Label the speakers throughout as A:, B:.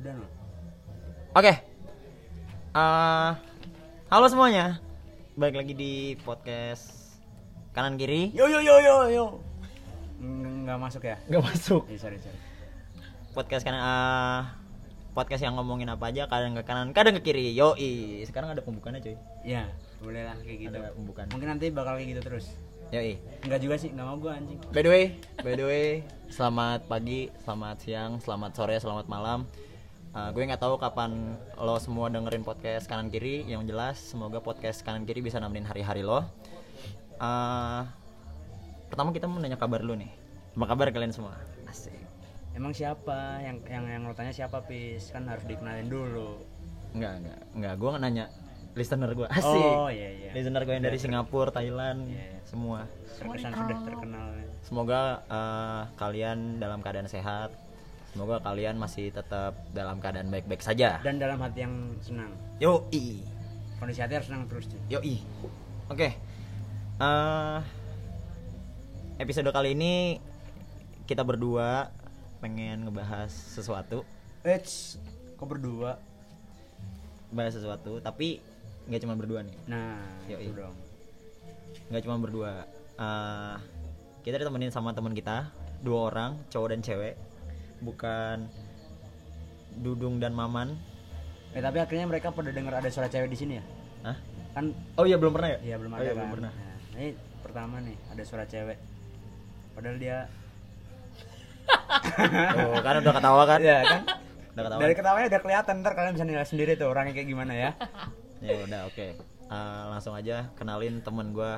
A: Udah no.
B: Oke. Eh, halo semuanya. Balik lagi di podcast kanan kiri.
A: Yo yo yo yo yo. Ng- Nggak masuk ya?
B: Gak masuk.
A: Eh, sorry sorry.
B: Podcast kanan eh, podcast yang ngomongin apa aja kadang ke kanan, kadang ke kiri. Yoi. Sekarang ada pembukaannya cuy.
A: Ya, boleh lah kayak gitu.
B: Ada pembukaan.
A: Mungkin nanti bakal kayak gitu terus.
B: Yoi.
A: Enggak juga sih, nggak mau gua anjing.
B: By the way, by the way, selamat pagi, selamat siang, selamat sore, selamat malam. Eh, gue nggak tahu kapan lo semua dengerin podcast kanan kiri. Yang jelas, semoga podcast kanan kiri bisa nemenin hari-hari lo. Eh, pertama kita mau nanya kabar lu nih. Apa kabar kalian semua? Asik.
A: Emang siapa yang yang yang lo tanya siapa pis? Kan harus dikenalin dulu.
B: Enggak, enggak, enggak. Gue nanya listener gue. Asik.
A: Oh iya iya.
B: Listener gue yang dari Singapura, Thailand,
A: Iya, iya.
B: semua.
A: Terkesan sudah terkenal.
B: Semoga eh, kalian dalam keadaan sehat. Semoga kalian masih tetap dalam keadaan baik-baik saja.
A: Dan dalam hati yang senang.
B: Yoi.
A: Kondisi hati harus senang terus. cuy.
B: Yoi. Oke. Eh, episode kali ini kita berdua pengen ngebahas sesuatu,
A: Eits, kok berdua?
B: bahas sesuatu, tapi nggak cuma berdua nih.
A: Nah,
B: Yoi.
A: itu dong.
B: Nggak cuma berdua. Eh, kita ditemenin sama teman kita, dua orang, cowok dan cewek. Bukan Dudung dan Maman.
A: Eh tapi akhirnya mereka pada dengar ada suara cewek di sini ya?
B: Hah?
A: Kan
B: Oh iya belum pernah ya?
A: Iya belum
B: Oh
A: ada
B: iya,
A: kan.
B: belum pernah.
A: Nah, ini pertama nih ada suara cewek. Padahal dia
B: Tuh, kan udah ketawa kan?
A: Iya kan?
B: Udah ketawa.
A: Dari ketawanya udah kelihatan ntar kalian bisa nilai sendiri tuh orangnya kayak gimana ya.
B: Ya udah oke. Eh, langsung aja kenalin temen gue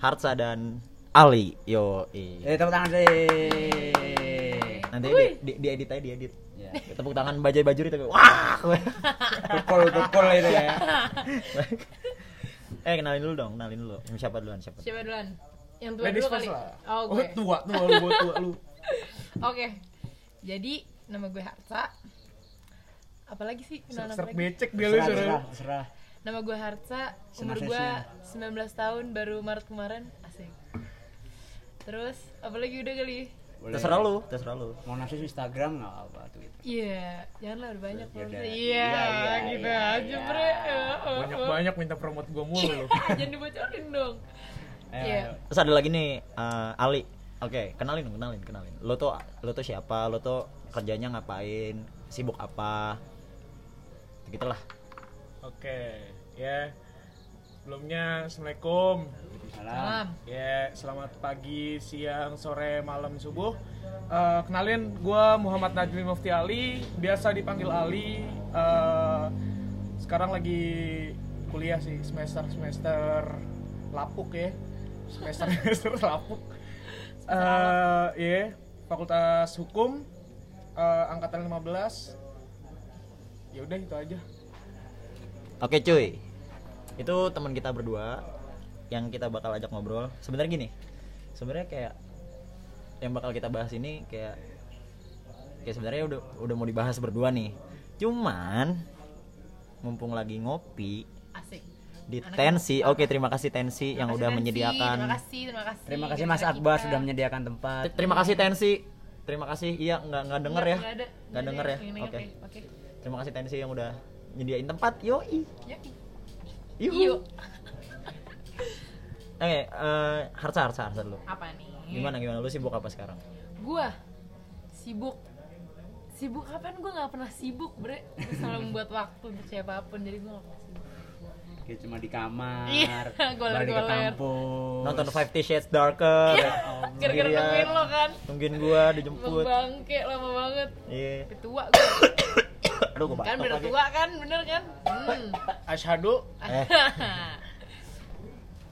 B: Harsa dan Ali. Yo.
A: Eh tepuk tangan
B: Iya.
A: sih.
B: Nanti di, di, diedit aja diedit. Eh,
A: Ya.
B: Tepuk tangan bajai bajuri tapi wah.
A: Tukul tukul itu ya.
B: eh kenalin dulu dong, kenalin dulu. Siapa duluan? Siapa?
C: Siapa duluan? Yang tua
D: Ladies
C: dulu kali.
D: first lah.
C: Oh, gue. Oke.
D: tua, tua lu, gua tua lu.
C: Jadi nama gue Harsa. Apalagi sih kenalan
D: Serap
C: apa lagi?
D: becek dia lu
A: Serah
D: suruh.
A: serah serah.
C: Nama gue Harsa, umur
A: Senasesnya.
C: gue 19 tahun baru Maret kemarin. Asik. Terus apalagi udah kali?
A: Boleh.
B: Terserah lu, terserah lu.
A: Mau nasis Instagram nggak apa Twitter.
C: Iya, janganlah udah banyak
A: Ya
C: belum
A: udah.
C: sih.
A: Iya,
C: Iya,
A: iya,
C: gitu
A: iya,
C: aja,
A: iya.
C: Bre. Eh, eh,
D: Banyak
C: eh.
D: banyak minta promote gua mulu lu.
C: Jangan dibocorin dong.
A: Ayo,
C: Iya.
A: ayo.
B: Terus ada lagi nih eh, Ali. Oke, kenalin dong, kenalin, kenalin. Lo tuh lo tuh siapa? Lo tuh kerjanya ngapain? Sibuk apa? Gitu Begitulah.
D: Oke, ya. Sebelumnya Assalamualaikum.
A: Salam.
C: Salam.
D: Ya, selamat pagi, siang, sore, malam, subuh. Eh, kenalin, gua Muhammad Najmi Mufti Ali, biasa dipanggil Ali. Eh, sekarang lagi kuliah sih, semester semester lapuk ya, semester semester lapuk. Eh, ya, Fakultas Hukum, eh, angkatan 15. Ya udah itu aja.
B: Oke cuy, itu teman kita berdua yang kita bakal ajak ngobrol. Sebenarnya gini, sebenarnya kayak yang bakal kita bahas ini kayak kayak sebenarnya udah udah mau dibahas berdua nih. Cuman mumpung lagi ngopi
C: Asik.
B: di
C: Anak
B: tensi. Oke terima kasih tensi yang
C: Terima
B: udah
C: kasih, Nancy.
B: menyediakan.
C: Terima kasih, terima kasih.
A: Terima kasih Mas
C: Gara-gara
A: Akbar
C: kita.
A: sudah menyediakan tempat.
B: T- Terima kasih tensi. Terima kasih. Iya nggak nggak denger ya?
C: Nggak ada.
B: Nggak denger ya?
C: Nggak
B: Oke.
C: denger, Oke.
B: Terima kasih tensi yang udah nyediain tempat. Yoi.
C: Yoi.
B: Yuhu.
C: Ya, Yuk.
B: Oke, eh, harsa harsa harsa dulu.
C: Apa nih?
B: Gimana gimana lu sibuk apa sekarang?
C: Gua sibuk. Sibuk kapan gua nggak pernah sibuk, Bre. Gua selalu membuat waktu untuk siapapun jadi gua nggak pernah sibuk.
B: Iya.
A: Kayak cuma di kamar.
C: Iya,
A: balik ke
C: goler-goler.
A: kampus.
B: Nonton Fifty Shades Darker.
C: Gara-gara
B: Sendirian.
C: nungguin lo kan.
B: Tungguin gua
C: Lo
B: dijemput.
C: bangke lama banget.
B: Iya.
C: Tapi Tua gua.
B: Aduh gua
C: kan
B: batuk
C: bener
B: lagi.
C: tua kan, bener kan? Hmm.
D: Ashadu
B: Eh.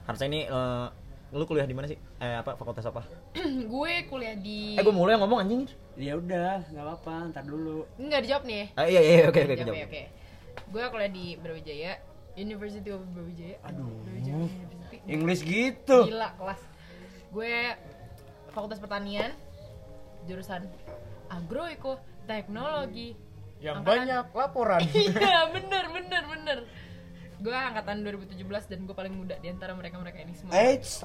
B: Harsa ini eh, lu kuliah di mana sih? Eh apa fakultas apa?
C: gue kuliah di
B: Eh gua mulai ngomong anjing.
A: Ya udah, nggak apa-apa, ntar dulu.
C: Enggak dijawab nih ya.
B: Eh, iya iya oke oke
C: Jawab
B: oke.
C: ya, oke. Gue kuliah di Brawijaya, University of Brawijaya. Aduh. Brawijaya University.
A: English gitu.
C: Gila kelas. Gue Fakultas Pertanian, jurusan Agroeko Teknologi.
D: yang
C: Angkatan-
D: banyak laporan.
C: Iya, bener bener bener. gue angkatan 2017 dan gue paling muda di antara mereka-mereka ini semua.
A: Eits,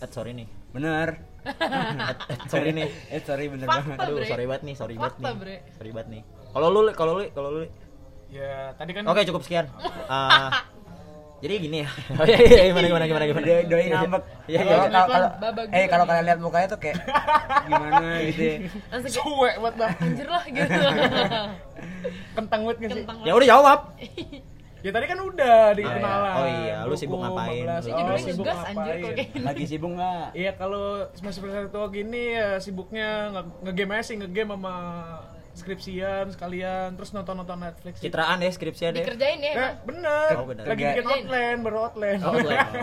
B: Eh, sorry nih.
A: bener.
B: Eh, sorry nih.
A: Eh sorry bener
C: Fakta.
A: banget.
B: Aduh,
C: Bre.
B: sorry banget nih, sorry banget
C: Fakta,
B: nih.
C: Bre.
B: Sorry banget nih. Kalau lu, Li, kalau lu, Li, kalau lu. Li.
D: Ya, tadi kan
B: Oke, cukup sekian. Ah, jadi gini ya. Oh, iya, iya, gimana gimana gimana gimana.
A: Doi doi ngambek.
B: Iya,
A: Kalau-
B: iya.
A: kalau- kalau-
C: Babak
A: eh
C: gua
A: kalau
C: nih.
A: kalian lihat mukanya tuh kayak gimana gitu. ya.
C: Langsung kayak,
D: cuek buat bang
C: anjir lah gitu.
D: kentang banget nggak sih?
C: Kentang
B: Ya
C: lah.
B: udah jawab.
D: Ya tadi kan udah
B: iya.
D: dikenalan.
B: Oh iya, lu sibuk ngapain? Lu
D: Oh,
C: Judulnya
D: sibuk
C: ngegas anjir kalau
D: ngapain?
C: kayak gini.
A: Lagi sibuk nggak?
D: Iya kalau semester satu tua gini ya sibuknya nge- ngegame aja sih ngegame sama skripsian sekalian terus nonton-nonton Netflix. gitu.
B: Citraan deh skripsi deh. Iya.
C: Dikerjain ya
D: Eh,
C: emang.
D: bener.
B: Oh, bener.
D: Lagi bikin
C: Kerjain.
D: outline, baru outline.
B: Oh, like.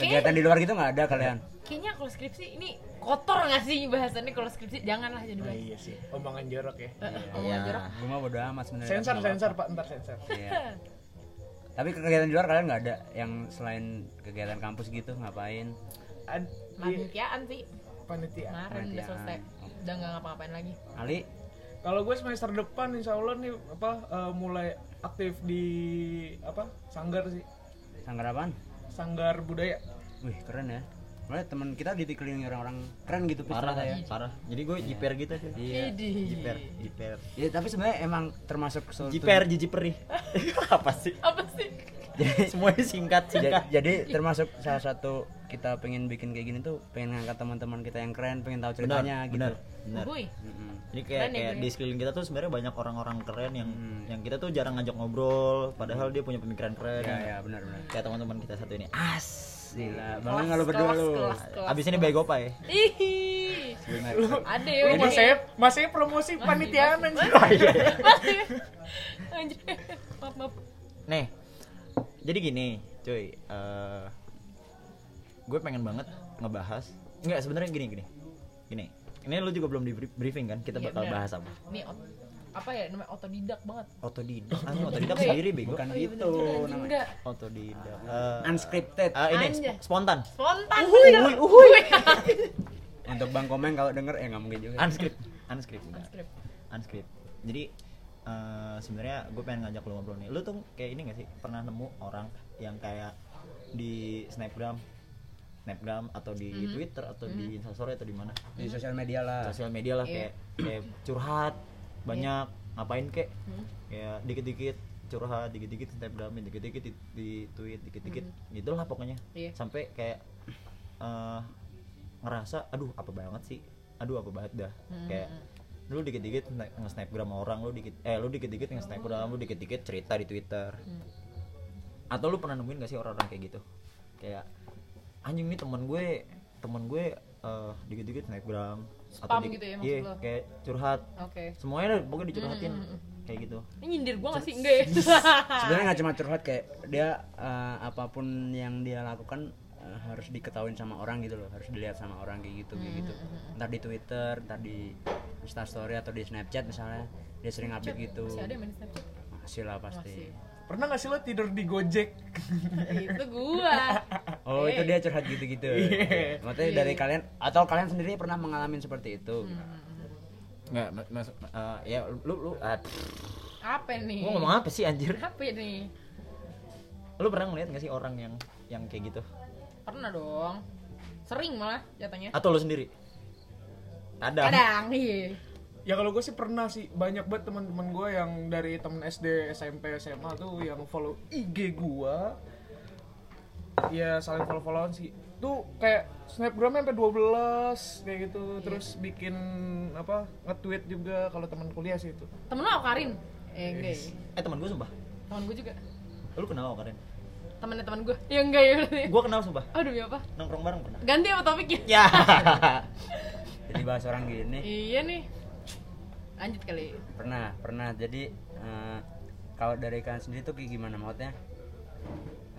A: Kegiatan di luar gitu nggak ada kalian?
C: Kayaknya kalau skripsi ini kotor nggak sih bahasannya kalau skripsi janganlah jadi
B: Oh,
D: Nah,
C: bahas.
D: iya sih, omongan jorok ya.
A: Oh,
C: Omongan
B: Iya.
C: jorok.
A: Gue mah bodo amat sebenarnya.
D: Sensor,
A: Nggak
D: sensor, Pak, ntar sensor.
A: apa-apa. Iya. Tapi kegiatan di luar kalian nggak ada yang selain kegiatan kampus gitu ngapain?
D: Ad- iya,
C: Panitiaan sih.
D: Panitia.
C: Kemarin udah
A: Panitiaan.
C: selesai. Udah nggak ngapa-ngapain lagi.
A: Ali?
D: Kalau gue semester depan insya Allah nih apa eh, mulai aktif di apa sanggar sih
A: Sanggar apaan?
D: sanggar budaya.
A: Wih keren ya. Mulai teman kita dikelilingi orang-orang keren gitu Pis,
B: Parah
A: ternyata
B: ya, parah. Jadi gue jiper gitu sih.
A: Iya,
C: Idi.
B: Jiper, jiper.
A: Ya tapi sebenarnya emang termasuk suatu-
B: Jiper, jijiperi. Apa sih?
C: Apa sih?
B: Semuanya singkat, singkat.
C: Iya.
A: Ja- jadi termasuk salah satu kita pengen bikin kayak gini tuh pengen ngangkat teman-teman kita yang keren, pengen tahu ceritanya gitu.
B: benar, benar.
C: Gue.
A: Mm-mm.
B: Ini kayak
C: Keren ya,
B: kayak
C: Bre.
B: di sekeliling kita tuh sebenarnya banyak orang-orang keren yang yang kita tuh jarang ngajak ngobrol, padahal dia punya pemikiran keren.
A: Ya ya benar benar.
B: Kayak teman-teman kita satu ini. As.
A: Gila, banget nggak lu berdua
C: kelas,
A: lu.
C: kelas, kelas.
B: Abis ini bego ya.
C: Ih.
A: kan
C: Ada ya.
D: Lu
C: ini.
D: masih masih promosi panitiaan anjir.
C: Anjir. Maaf, maaf.
B: Nih. Jadi gini, cuy. eh, gue pengen banget ngebahas. Enggak, sebenarnya gini gini. Gini. Ini lu juga belum di bri- briefing kan? Kita
C: Iya,
B: bakal
C: benar.
B: bahas apa?
C: Ini ot- apa ya namanya otodidak banget.
B: Otodidak.
C: iya.
B: Ah, otodidak sendiri bego.
A: Bukan
C: Oh iya bener
A: gitu
C: juga anjing,
A: namanya.
C: enggak.
B: Otodidak. Eh,
A: Unscripted.
B: eh, ini
C: Anjay.
B: sp- spontan.
C: Spontan.
B: Uhuy, uhuy.
A: Untuk Bang Komeng kalau denger ya nggak mungkin juga.
B: Unscript. Unscript.
C: Unscript.
B: unscript jadi eh, sebenarnya gue pengen ngajak lo ngobrol nih lu tuh kayak ini gak sih pernah nemu orang yang kayak di snapgram snapgram atau di twitter atau di instastory atau di mana
A: Di sosial media lah.
B: sosial media lah
C: Iya. Hmm.
B: kayak kayak curhat banyak ngapain kek kayak dikit-dikit curhat dikit-dikit snapgram dikit-dikit di, di tweet dikit-dikit gitulah pokoknya
C: Hmm. Iya.
B: sampai kayak eh, ngerasa aduh apa banget sih aduh apa banget dah
C: Hmm.
B: kayak lu dikit-dikit nge- nge-snapgram orang lu dikit eh lu dikit-dikit nge-snapgram lu dikit-dikit cerita di Twitter
C: Hmm.
B: atau lu pernah nemuin gak sih orang-orang kayak gitu kayak anjing nih teman gue teman gue eh, dikit-dikit snapgram atau
C: Spam
B: di-
C: gitu ya maksud
B: iya,
C: lo? Hmm,
B: kayak curhat
C: Oke.
B: semuanya deh, pokoknya dicurhatin kayak gitu
C: Ini nyindir gua gak sih? Enggak ya?
A: Sebenarnya nggak cuma curhat kayak dia eh, apapun yang dia lakukan eh, harus diketahuin sama orang gitu loh, harus dilihat sama orang kayak gitu kayak gitu.
C: Hmm,
A: Entar di Twitter, entar di Insta Story atau di Snapchat misalnya dia sering update gitu.
C: Masih ada yang main Snapchat?
A: Masih lah pasti.
C: Masih.
D: Pernah nggak sih lo tidur di Gojek?
C: Itu gua.
A: Oh
C: Eh. Iya.
A: itu dia curhat gitu-gitu. Maksudnya dari kalian atau kalian sendiri pernah mengalami seperti itu?
C: Hmm.
B: nggak mas ya lu lu ah, pff,
C: Apa nih?
B: gua ngomong apa sih anjir
C: Apa ya nih?
B: lu pernah ngeliat gak sih orang yang yang kayak gitu
C: Pernah dong. Sering malah jatuhnya.
B: atau lu sendiri ada
C: Kadang, iya.
D: Ya kalau gue sih pernah sih banyak banget teman-teman gue yang dari temen SD, SMP, SMA tuh yang follow IG gue. Ya saling follow-followan sih. Tuh kayak snapgramnya sampai 12 kayak gitu.
C: Iya.
D: Terus bikin apa nge-tweet juga kalau teman kuliah sih itu.
C: Temen lo Karin? Eh, enggak ya.
B: eh teman gue sumpah
C: Temen gua juga.
B: lu kenal kok keren
C: Temennya temen gua. Ya enggak ya berarti.
B: gue kenal sumpah
C: Aduh, ya apa?
B: nongkrong bareng pernah
C: Ganti apa topiknya?
B: ya
A: Jadi bahas orang gini.
C: Iya nih. Lanjut kali.
A: pernah pernah jadi eh, kalau dari kalian sendiri tuh kayak gimana maksudnya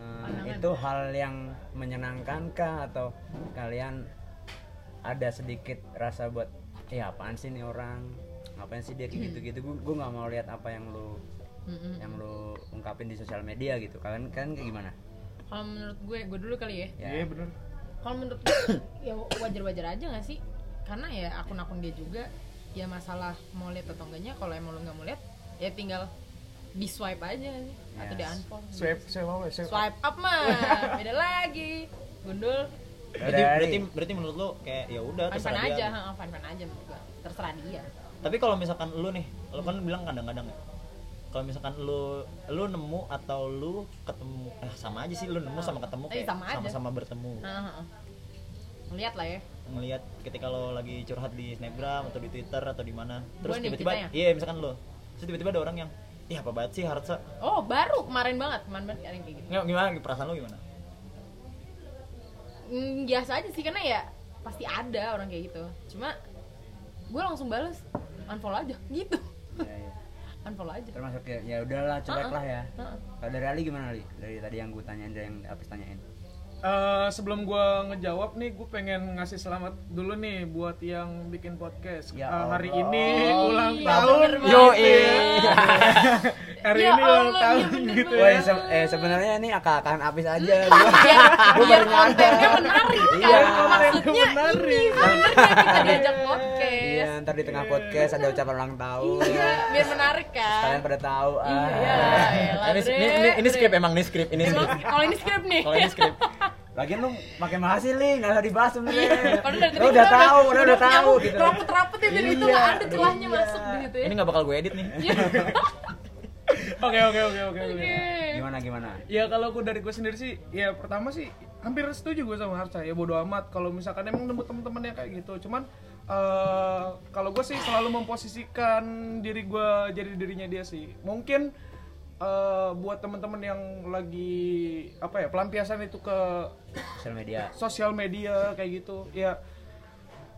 A: Eh, itu hal yang menyenangkan kah atau kalian ada sedikit rasa buat ya apaan sih nih orang ngapain sih dia kayak gitu gitu gue gue nggak mau lihat apa yang lu
C: Mm-mm.
A: yang lu ungkapin di sosial media gitu kalian kan kayak gimana
C: Kalau menurut gue, gue dulu kali ya.
A: Ya.
D: Iya bener.
C: kalau menurut gue ya wajar-wajar aja gak sih karena ya akun-akun dia juga ya masalah mau lihat atau enggaknya kalau emang lu nggak mau lihat ya tinggal di swipe aja nggak sih atau di
A: Yes.
C: unfollow
D: Swipe, swipe apa? Swipe.
C: swipe up mah beda lagi gundul
B: berarti
A: Dari-
B: berarti berarti menurut lo kayak ya udah
C: fan-fan
B: terserah
C: aja
B: dia
C: ha, fan-fan aja menurut gua terserah dia
B: tapi kalau misalkan lu nih lu kan bilang kadang-kadang ya kalau misalkan lu lu nemu atau lu ketemu eh, sama aja sih lu nemu sama ketemu
C: Tapi
B: kayak
C: Iya, sama aja. Nah.
B: sama-sama bertemu
C: Heeh. lihat lah ya
B: ngelihat ketika lo lagi curhat di snapgram atau di twitter atau di mana terus
C: nih,
B: tiba-tiba
C: kitanya.
B: iya misalkan lo terus tiba-tiba ada orang yang ih apa banget sih harusnya
C: oh baru kemarin banget kemarin banget ada yang kayak gitu
B: nggak gimana perasaan lo gimana
C: Mm, biasa aja sih karena ya pasti ada orang kayak gitu cuma gua langsung bales unfollow aja gitu
A: Ya, ya.
C: unfollow aja
A: termasuk ya ya udahlah cuek
C: Ah,
A: lah ya
C: Heeh.
A: kalau dari Ali gimana Ali dari tadi yang gue tanyain dari yang habis tanyain
D: Eh, sebelum gua ngejawab nih, gue pengen ngasih selamat dulu nih buat yang bikin podcast
A: Ya
D: Eh, hari
A: Allah.
D: ini
C: Oh,
D: ulang
C: iya,
D: tahun.
C: bener
B: Yo,
C: banget.
B: iya.
D: hari
C: Ya
D: ini ulang
C: Allah,
D: tahun
C: iya bener
D: gitu.
C: banget.
A: Woi, se- eh sebenarnya ini akak-akakan habis aja gua.
C: Iya, biar,
A: Gua baru
C: biar
A: nyadar.
C: kontennya menarik kan
A: Iya,
C: maksudnya
D: menarik.
C: ini sebenarnya kita diajak podcast
A: Iya, ntar di tengah podcast ada ucapan ulang tahun. ya.
C: ya. iya biar menarik kan
A: Kalian pada tahu ah.
C: iya elah,
B: Eh, ini,
C: Bre,
B: ini, ini, ini
C: Bre.
B: script emang ini script ini
C: Emang,
B: script
C: kalau ini skrip nih
B: kalau ini script
A: Lagian lu pakai mahasih li, enggak usah dibahas sebenarnya.
C: Iya,
A: Lu
C: Padahal dari tadi
A: Iya. udah
C: kita
A: tahu, lu udah tahu
C: nyambung,
A: gitu.
C: rapet-rapet ya dari itu
A: Iya,
C: nggak ada
A: aduh,
C: celahnya
A: iya.
C: masuk gitu ya
B: ini nggak bakal gue edit nih
C: Iya.
D: Oke oke oke oke. oke.
C: Oke.
A: Gimana gimana?
D: Ya kalau gue dari gue sendiri sih, ya pertama sih hampir setuju gue sama Harca ya bodo amat kalau misalkan emang nemu temen-temen yang kayak gitu. Cuman eh, kalau gue sih selalu memposisikan diri gue jadi dirinya dia sih. Mungkin eh, buat temen-temen yang lagi apa ya pelampiasan itu ke
A: Sosial media.
D: sosial media kayak gitu, ya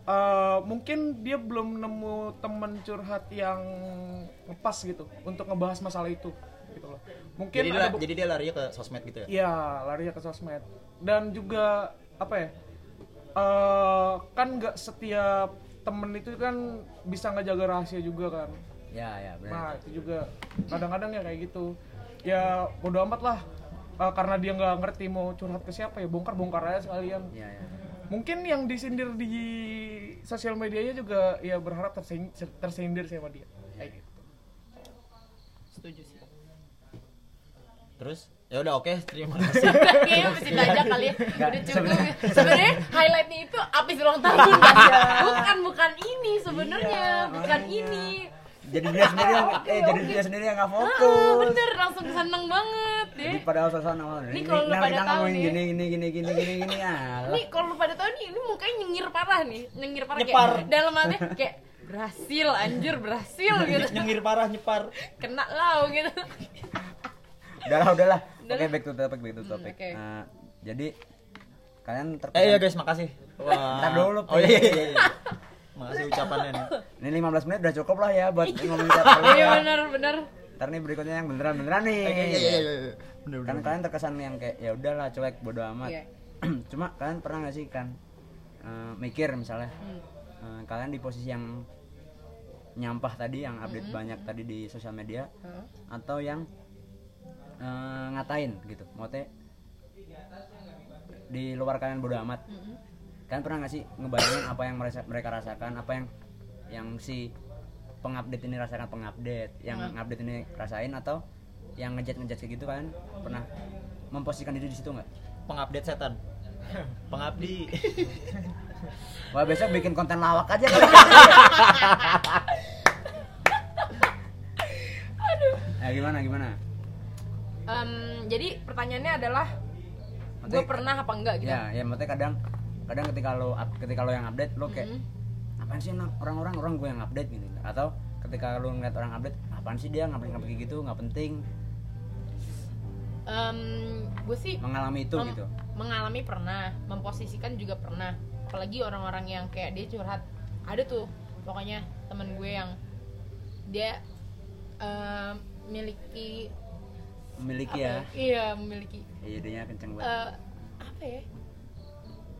D: eh, mungkin dia belum nemu temen curhat yang pas gitu untuk ngebahas masalah itu gitu loh.
B: jadi
D: Mungkin
B: dia
D: ada be-
B: jadi dia larinya ke sosmed gitu ya
D: Iya, larinya ke sosmed. Dan juga apa ya? eh, kan nggak setiap temen itu kan bisa ngejaga rahasia juga kan.
A: Ya, ya, benar.
D: Nah itu juga kadang-kadang ya kayak gitu. Ya bodo amat lah. Eh, karena dia nggak ngerti mau curhat ke siapa ya bongkar bongkar aja sekalian.
A: Ya, ya.
D: Mungkin yang disindir di sosial medianya juga ya berharap tersin- tersindir sama dia. Kayak gitu.
C: setuju sih
B: terus ya udah oke terima kasih
C: kayaknya mesti aja kali ya udah cukup ya. sebenarnya highlightnya itu abis ulang tahun bukan bukan ini sebenarnya
A: Iya,
C: bukan
A: makanya.
C: ini
A: Jadi dia sendiri yang eh jadi dia sendiri yang nggak
C: ah
A: fokus.
C: bener langsung seneng banget deh
A: Jadi pada sosokan awal
C: Ini kalau lu
A: nah,
C: pada
A: kita
C: tahu
A: ngomongin
C: nih. ya."
A: gini gini gini gini gini gini ah.
C: ini kalau lu pada tahu nih ini mukanya nyengir parah nih nyengir parah
B: Nyepar.
C: kayak dalam hati kayak berhasil anjir berhasil gitu
B: nyengir parah nyepar
C: kena lau gitu
A: udahlah udahlah
C: Udahlah.
A: oke back to topic back to topic
C: Hmm, oke.
A: Nah, jadi kalian terkesan
B: eh ya guys makasih Wah.
A: Ntar dulu,
B: oh iya, iya,
A: Pi.
B: iya. makasih ucapannya nih
A: ini 15 menit udah cukup lah ya buat ngomongin tiap kali
C: iya
A: ya.
C: bener bener
A: ntar nih berikutnya yang beneran beneran nih
B: Iya, iya, iya, iya, iya. Bener, bener.
A: kan kalian terkesan yang kayak ya udahlah cuek bodo amat
C: Iya.
A: cuma kalian pernah nggak sih kan eh, mikir misalnya
C: Hmm.
A: eh, kalian di posisi yang nyampah tadi yang update
C: Hmm.
A: banyak tadi di sosial media
C: Heeh.
A: atau yang eh, ngatain gitu maksudnya di luar kalian bodo amat kalian pernah nggak sih ngebayangin apa yang merasa- mereka rasakan apa yang yang si pengupdate ini rasakan pengupdate yang ngupdate ini rasain atau yang ngejat ngejat kayak gitu kalian pernah memposisikan diri di situ nggak
B: pengupdate setan pengabdi
A: wah besok bikin konten lawak aja kali. Eh, gimana gimana
C: Em, jadi pertanyaannya adalah gue
A: Maksudnya-
C: pernah apa enggak gitu
A: ya ya maksudnya kadang kadang ketika lo up- ketika lo yang update lo kayak apaan sih anak- orang-orang orang gue yang update gitu atau ketika lo ngeliat orang update apaan sih dia ngapain ngapain kayak gitu nggak penting
C: gue sih
A: mengalami itu
C: mem-
A: gitu
C: mengalami pernah memposisikan juga pernah apalagi orang-orang yang kayak dia curhat ada tuh pokoknya temen gue yang dia em, miliki
A: memiliki
C: apa
A: ya
C: ya? iya memiliki
A: iya idenya kenceng banget
C: eh, apa ya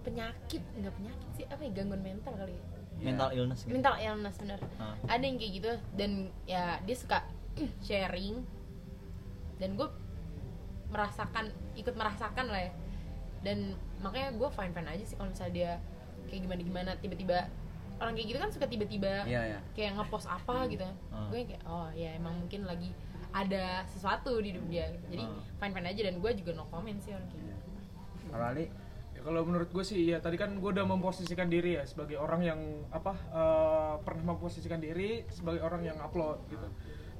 C: penyakit nggak penyakit sih apa ya gangguan mental kali ya
B: mental illness gitu
C: mental illness bener
B: Ah.
C: ada yang kayak gitu dan ya dia suka sharing dan gue merasakan ikut merasakan lah ya dan makanya gue fine fine aja sih kalau misalnya dia kayak gimana gimana tiba-tiba orang kayak gitu kan suka tiba-tiba
A: iya ya
C: kayak ngepost apa gitu
B: Ah.
C: gue kayak oh ya emang mungkin lagi ada sesuatu di hidup dia gitu. jadi
A: Hmm.
C: fine fine aja dan gue juga no comment sih orang kayak gitu.
A: Iya. Kalau Ali
D: Ya, kalau menurut gue sih ya tadi kan gue udah memposisikan diri ya sebagai orang yang apa eh, pernah memposisikan diri sebagai orang yang upload gitu.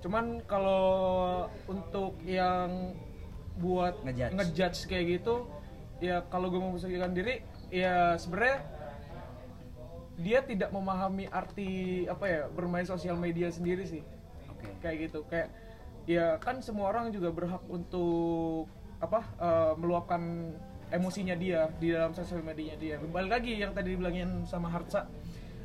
D: Cuman kalau untuk yang buat
A: Ngejudge.
D: kayak gitu ya kalau gue memposisikan diri ya sebenarnya dia tidak memahami arti apa ya bermain sosial media sendiri sih
A: Oke.
D: kayak gitu kayak ya kan semua orang juga berhak untuk apa eh, meluapkan emosinya dia di dalam sosial medianya dia balik lagi yang tadi dibilangin sama Hartsa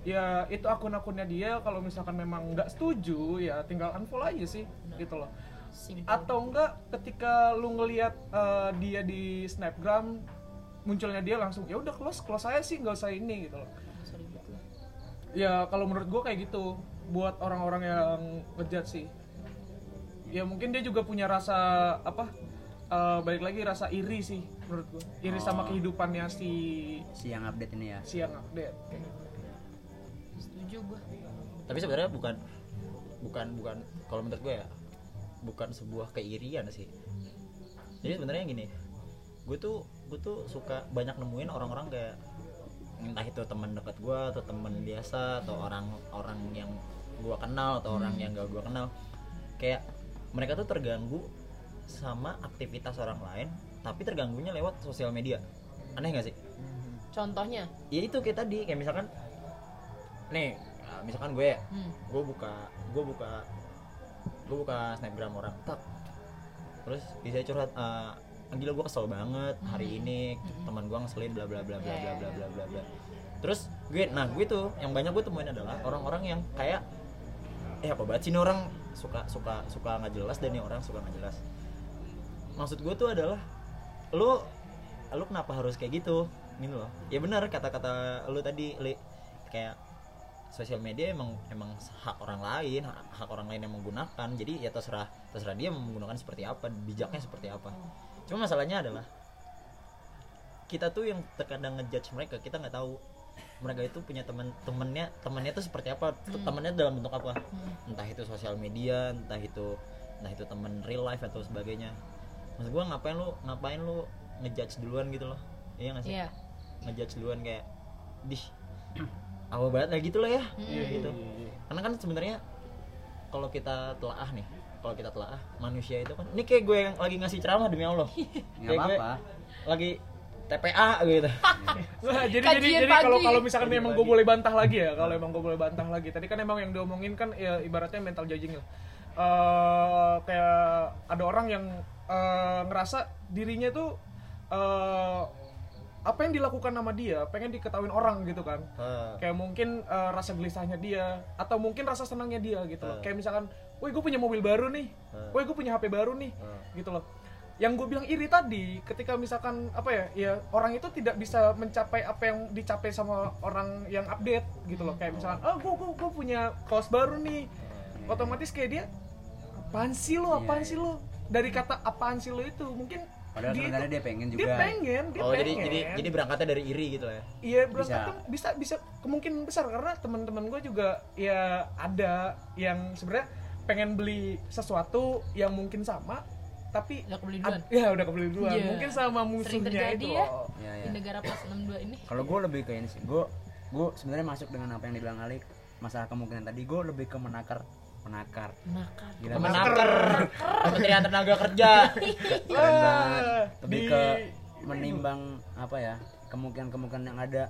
D: ya itu akun-akunnya dia kalau misalkan memang nggak setuju ya tinggal unfollow aja sih gitu loh
C: Simple.
D: atau enggak ketika lu ngelihat eh, dia di snapgram munculnya dia langsung ya udah close close saya sih nggak usah ini gitu loh
C: Sorry buat lu.
D: ya kalau menurut gue kayak gitu buat orang-orang yang ngejat sih ya mungkin dia juga punya rasa apa eh, balik lagi rasa iri sih menurut gue iri sama kehidupannya si
A: Si yang update ini ya.
D: siang update
C: setuju gue
B: tapi sebenarnya bukan bukan bukan kalau menurut gue ya bukan sebuah keirian sih jadi sebenarnya gini gue tuh gue tuh suka banyak nemuin orang-orang kayak entah itu teman dekat gue atau teman biasa atau orang-orang yang gue kenal atau orang yang gak gue kenal kayak mereka tuh terganggu sama aktivitas orang lain tapi terganggunya lewat sosial media aneh gak sih
C: contohnya
B: ya itu kayak tadi kayak misalkan nih nah, misalkan gue
C: hmm.
B: gue buka gue buka gue buka snapgram orang tak terus bisa curhat eh, gila gue kesel banget hari ini teman gue ngeselin bla bla bla bla bla bla bla bla bla terus gue nah gue tuh yang banyak gue temuin adalah orang-orang yang kayak eh apa banget sih ini orang suka suka suka nggak jelas dan ini orang suka nggak jelas maksud gue tuh adalah lu lu kenapa harus kayak gitu gitu loh ya benar kata-kata lu tadi li kayak sosial media emang emang hak orang lain hak, hak orang lain yang menggunakan jadi ya terserah terserah dia mau menggunakan seperti apa bijaknya seperti apa cuma masalahnya adalah kita tuh yang terkadang ngejudge mereka kita nggak tahu mereka itu punya temen temennya temennya tuh seperti apa tuh temennya dalam bentuk apa entah itu sosial media entah itu entah itu temen real life atau sebagainya maksud gua ngapain lu ngapain lu ngejudge duluan gitu loh iya nggak sih
C: Iya.
B: ngejudge duluan kayak dih apa banget lah gitu lah ya
D: Iya, iya,
B: gitu
D: iya, iya.
B: karena kan sebenarnya kalau kita telaah nih kalau kita telaah manusia itu kan ini kayak gue yang lagi ngasih ceramah demi allah
A: Nggak
B: Kayak gue
A: apa-apa.
B: lagi TPA gitu
D: Wah, jadi
C: Kajian
D: jadi jadi
C: pagi.
D: kalau kalau misalkan emang gue boleh bantah lagi ya kalau emang gue boleh bantah lagi tadi kan emang yang diomongin kan ya, ibaratnya mental judging lah Eh, kayak ada orang yang eh, ngerasa dirinya tuh eh, apa yang dilakukan sama dia pengen diketahuin orang gitu kan
B: Eh,
D: kayak mungkin eh, rasa gelisahnya dia atau mungkin rasa senangnya dia gitu loh kayak misalkan woi gue punya mobil baru nih woi gue punya HP baru nih gitu loh yang gue bilang iri tadi ketika misalkan apa ya ya orang itu tidak bisa mencapai apa yang dicapai sama orang yang update gitu loh kayak misalkan oh gue gue gue punya kaos baru nih
A: Iya,
D: otomatis kayak dia apaan sih lo apaan
B: Iya,
D: sih lo dari kata apaan sih lo itu mungkin
A: Padahal
D: dia,
A: sebenarnya
D: itu-
A: dia pengen
D: dia
A: juga.
D: pengen dia
B: oh
D: pengen
B: jadi jadi jadi berangkatnya dari iri gitu lah ya
D: Iya
A: Bisa.
D: berangkat tuh bisa bisa kemungkinan besar karena teman-teman gue juga ya ada yang sebenarnya pengen beli sesuatu yang mungkin sama tapi
C: Hmm, Udah kebeli duluan.
D: ad- ya udah kebeli duluan
C: Iya.
D: mungkin sama
C: Sering
D: musuhnya
C: terjadi
D: itu
C: ya.
D: loh.
A: Ya, ya.
C: di negara plus 62 ini
A: Kalau gue lebih ke ini sih, gue gue sebenarnya masuk dengan apa yang dibilang Ali masalah kemungkinan tadi gue lebih ke menakar menakar
C: nakal
A: gila
B: kemenaker kementerian tenaga kerja
A: keren banget.
D: Wah,
A: lebih
D: di-
A: ke menimbang apa ya kemungkinan-kemungkinan yang ada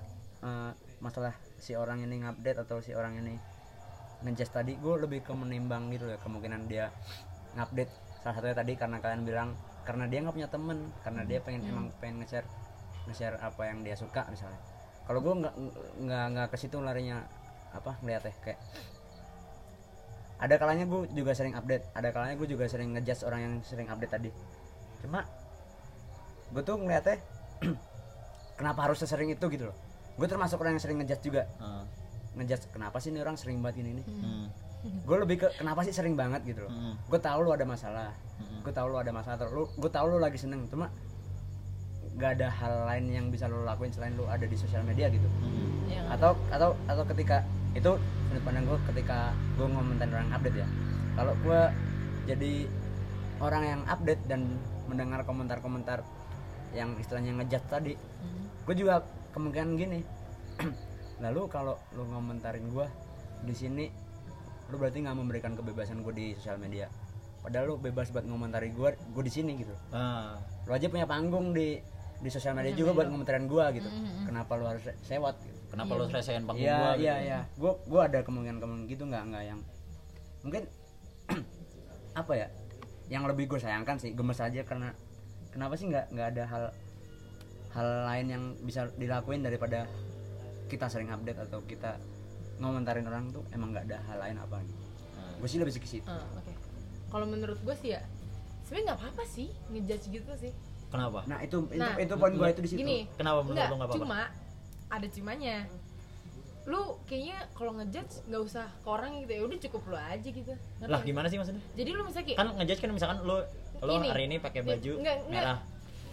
A: eh, masalah si orang ini ngupdate atau si orang ini ngejudge tadi gue lebih ke menimbang gitu ya kemungkinan dia ngupdate salah satunya tadi karena kalian bilang karena dia nggak punya temen karena dia pengen emang pengen nge-share nge-share apa yang dia suka misalnya kalau gue nggak nggak nggak ke situ larinya apa ngeliat ya kayak ada kalanya gue juga sering update ada kalanya gue juga sering ngejudge orang yang sering update tadi cuma gue tuh ngeliatnya kenapa harus sesering itu gitu loh gue termasuk orang yang sering ngejudge juga
B: Ah,
A: ngejudge kenapa sih ini orang sering banget gini nih
B: hmm,
A: gue lebih ke kenapa sih sering banget gitu loh
B: hmm,
A: gue tahu lu ada masalah
B: Mm-mm.
A: gue tahu lu ada masalah atau lu gue tahu lu lagi seneng cuma gak ada hal lain yang bisa lu lakuin selain lu ada di sosial media gitu
B: hmm.
C: ya nggak?
A: atau atau atau ketika itu sudut pandang gue ketika gue ngomentarin orang update ya kalau gue jadi orang yang update dan mendengar komentar-komentar yang istilahnya ngejat tadi
C: Hmm.
A: gue juga kemungkinan gini lalu kalau lu ngomentarin gue di sini lu berarti nggak memberikan kebebasan gue di sosial media padahal lu bebas buat ngomentari gue gue di sini gitu
B: Ah,
A: lu aja punya panggung di di sosial media juga buat ngomentarin gue gitu kenapa lu harus sewot gitu
B: kenapa lu resain panggung
A: Iya
B: gua
A: iya
B: gitu.
A: iya. Gue gue ada kemungkinan kemungkinan gitu nggak nggak yang mungkin apa ya? Yang lebih gue sayangkan sih gemes aja karena kenapa sih nggak nggak ada hal hal lain yang bisa dilakuin daripada kita sering update atau kita ngomentarin orang tuh emang nggak ada hal lain apa gitu.
B: Ah.
A: Gue sih lebih ke situ.
C: Ah, oke kalau menurut gue sih ya sebenarnya nggak apa-apa sih ngejudge gitu sih
B: Kenapa?
A: Nah itu itu,
C: Nah,
A: itu poin gue itu di situ.
C: gini
B: Kenapa menurut
C: enggak,
B: lu nggak apa-apa?
C: cuma ada cumanya lu kayaknya kalau ngejudge nggak usah ke orang gitu ya udah cukup lu aja gitu Ngerti
B: Lah
C: nggak?
B: gimana sih maksudnya?
C: jadi lu misalnya kayak
B: Kan ngejudge kan misalkan lu lu
C: Ini.
B: hari ini pakai baju
C: Iya. Enggak, enggak.
B: merah.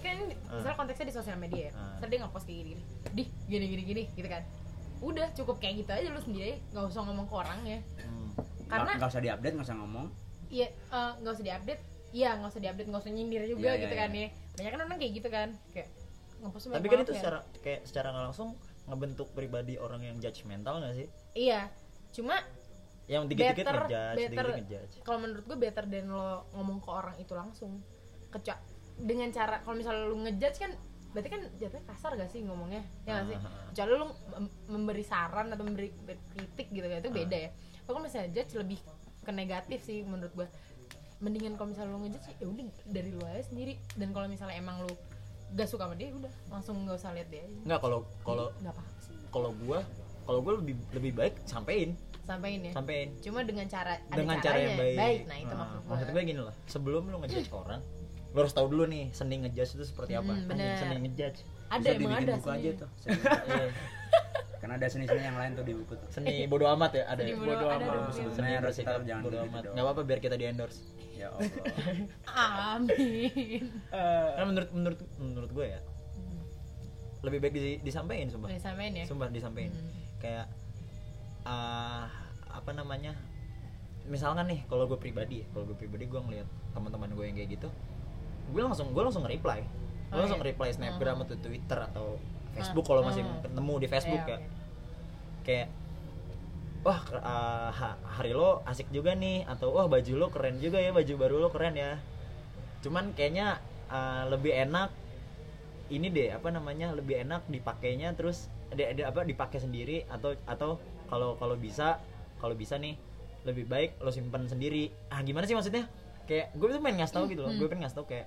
C: kan misalnya konteksnya di sosial media ya
B: Ah.
C: misalnya dia ngepost kayak gini gini dih gini gini gini gitu kan udah cukup kayak gitu aja lu sendiri aja nggak usah ngomong ke orang ya
B: Hmm.
A: Nggak-
C: karena
A: nggak usah diupdate nggak usah ngomong.
C: Iya, eh, nggak usah diupdate. Iya, nggak usah diupdate, nggak usah nyindir juga
A: Iya,
C: gitu
A: iya,
C: kan ya. Banyak kan orang kayak gitu kan, kayak ngepost tuh
B: Tapi
C: banyak
B: kan
C: maaf
B: itu
C: ya.
B: secara kayak secara nggak langsung ngebentuk pribadi orang yang judgmental gak sih?
C: Iya, cuma
B: Yang dikit-dikit
C: Better-
B: ngejudge,
C: better-
B: dikit-dikit ngejudge.
C: kalau menurut gue better than lo ngomong ke orang itu langsung. Kecuali dengan cara kalau misalnya lu ngejudge kan berarti kan jatuhnya kasar gak sih ngomongnya ya gak sih
B: Ah.
C: kecuali lu mem- memberi saran atau memberi ber- kritik gitu kan itu
B: Ah.
C: beda ya Tapi kalau misalnya judge lebih ke negatif sih menurut gua mendingan kalau misalnya lu ngejudge ya udah dari lu aja sendiri dan kalau misalnya emang lu gak suka sama dia ya udah langsung gak usah lihat dia aja
B: Enggak kalau kalau
C: nggak apa-apa sih
B: kalau gua kalau gua lebih lebih baik sampein,
C: sampaikan ya
B: sampein
C: cuma dengan cara ada
B: dengan cara
C: caranya
B: yang baik.
C: nah itu
B: Ah,
C: maksud gua
B: maksud gue gini lah, sebelum lu ngejudge orang, lu harus tahu dulu nih seni ngejudge itu seperti apa. Anjing,
C: Hmm, bener.
B: seni ngejudge.
C: ada
A: Bisa
C: emang
A: dibikin
C: ada
A: buku aja
C: sebenarnya.
A: tuh. seni.
B: Iya.
A: karena ada seni-seni yang lain tuh di buku tuh.
B: seni bodo amat ya ada.
C: Seni
B: ya?
C: bodo- ada
D: amat.
C: dong.
B: Seni
A: Sebenarnya harus
B: bersikap
A: kita jangan
B: bodo
A: gitu
B: amat.
A: dong.
B: Enggak apa-apa biar kita di-endorse.
A: Ya Allah.
C: amin
D: Eh,
B: Karena Nah, menurut menurut menurut gue ya lebih baik di, disampaikan sumpah.
C: Udah disampaikan ya
B: Sumpah disampaikan. Kayak ah, apa namanya? Misalkan nih kalau gue pribadi, ya, kalau gue pribadi gue ngeliat teman-teman gue yang kayak gitu, gue langsung gue langsung nge-reply. Gue
C: Oh,
B: langsung
C: iya.
B: nge-reply Snapgram atau Twitter atau Facebook
C: Ah,
B: kalau masih
C: ah.
B: ketemu di Facebook
C: Iya,
B: ya.
C: oke.
B: Kayak wah ke- ah, ha- hari lo asik juga nih atau wah baju lo keren juga ya baju baru lo keren ya cuman kayaknya uh, lebih enak ini deh apa namanya lebih enak dipakainya terus ada ada apa dipakai sendiri atau atau kalau kalau bisa kalau bisa nih lebih baik lo simpen sendiri ah gimana sih maksudnya kayak gue tuh pengen ngasih tau gitu loh gue pengen ngasih tau kayak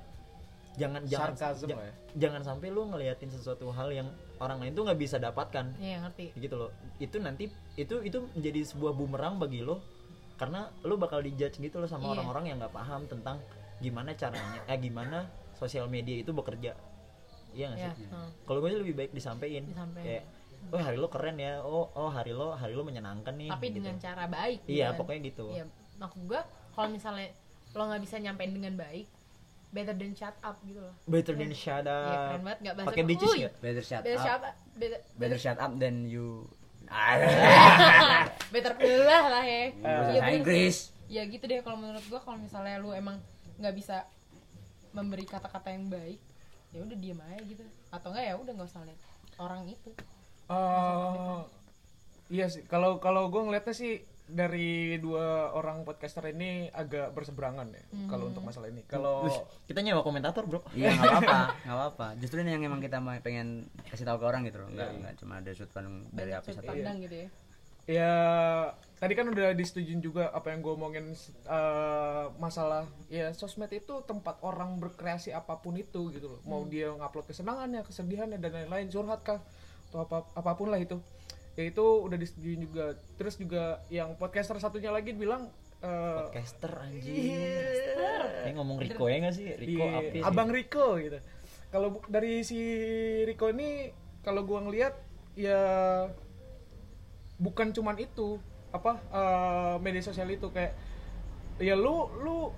B: jangan jangan
D: Sarkasm
B: ja-
D: lah ya.
B: jangan sampai lo ngeliatin sesuatu hal yang orang lain tuh nggak bisa dapatkan
C: Iya ngerti.
B: gitu loh itu nanti itu itu menjadi sebuah bumerang bagi lo karena lo bakal dijudge gitu loh sama
C: Iya.
B: orang-orang yang nggak paham tentang gimana caranya eh gimana sosial media itu bekerja iya nggak
C: Ya.
B: sih kalau gue sih lebih baik disampaikan
C: Disampein.
B: kayak oh hari lo keren ya oh oh hari lo hari lo menyenangkan nih
C: Tapi
B: gitu.
C: dengan cara baik.
B: iya
C: kan?
B: pokoknya gitu
C: Iya. Maksud gua kalau misalnya lo nggak bisa nyampein dengan baik, better than shut up gitu loh.
B: better than shut
C: Iya keren
B: up
C: banget nggak bahasa.
B: Eh, pakai
C: Uy,
B: bitches nggak
A: Better shut
C: Better shut
A: up.
C: up. Better,
A: Better shut up than you. Ah,
C: better pilih lah ya.
A: bahasa
C: Iya, bener sih.
A: Inggris.
C: Ya gitu deh kalau menurut gua kalau misalnya lu emang nggak bisa memberi kata-kata yang baik, ya udah diem aja gitu. Atau enggak ya udah nggak usah lihat orang itu.
D: Eh, iya sih. Kalau kalau gue ngelihatnya sih dari dua orang podcaster ini agak berseberangan ya.
C: Hmm.
D: Kalau untuk masalah ini. Kalau
B: Wih, kita nyewa komentator bro
A: Iya nggak apa-apa, nggak apa-apa. Justru ini yang emang kita mau pengen kasih tahu ke orang gitu loh.
C: Iya.
A: Nggak nggak cuma ada sudut pandang dari api
C: Sudut
B: iya.
A: satu.
C: pandang gitu ya.
D: ya tadi kan udah disetujuin juga apa yang gue omongin eh, masalah ya sosmed itu tempat orang berkreasi apapun itu gitu loh. Mau dia ngupload kesenangannya, kesedihannya dan lain-lain, curhat kah atau apa apapun lah itu. Ya itu udah disetujuin juga. Terus juga yang podcaster satunya lagi bilang eh,
B: podcaster anjing
C: Iya.
B: ini ngomong Rico ya nggak sih Rico
D: Iya,
B: Apis
D: Abang Rico gitu. Kalau bu- dari si Rico ini kalau gua ngelihat ya bukan cuman itu apa eh, media sosial itu kayak ya lu lu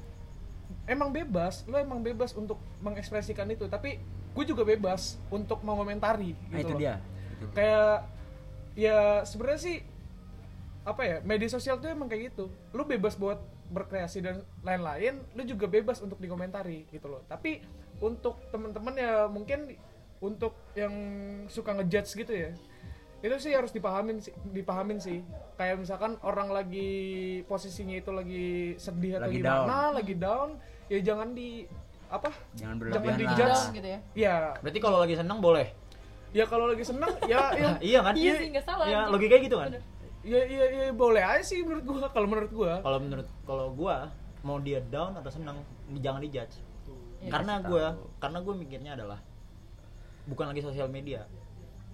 D: emang bebas, lu emang bebas untuk mengekspresikan itu, tapi gue juga bebas untuk mengomentari gitu
A: Nah itu
D: loh
A: dia.
D: kayak ya sebenarnya sih apa ya media sosial tuh emang kayak gitu lu bebas buat berkreasi dan lain-lain lu juga bebas untuk dikomentari gitu loh tapi untuk temen-temen ya mungkin untuk yang suka ngejudge gitu ya itu sih harus dipahamin sih dipahamin sih kayak misalkan orang lagi posisinya itu lagi sedih atau
A: Lagi
D: gimana lagi down ya jangan di apa
A: Jangan
D: jangan
A: berlebihan
D: di
A: lah.
D: judge
C: Down gitu ya.
D: ya
B: Berarti kalau lagi senang boleh.
D: ya kalau lagi seneng ya ya
B: Nah, iya kan?
C: Iya sih, nggak salah.
B: Iya, logikanya gitu kan.
D: ya, ya, ya boleh aja sih menurut gua kalau menurut gua
B: Kalau menurut kalau gua mau dia down atau senang jangan dijudge.
C: Iya,
B: karena
A: kasih
B: gua
A: tahu.
B: karena gua mikirnya adalah bukan lagi sosial media,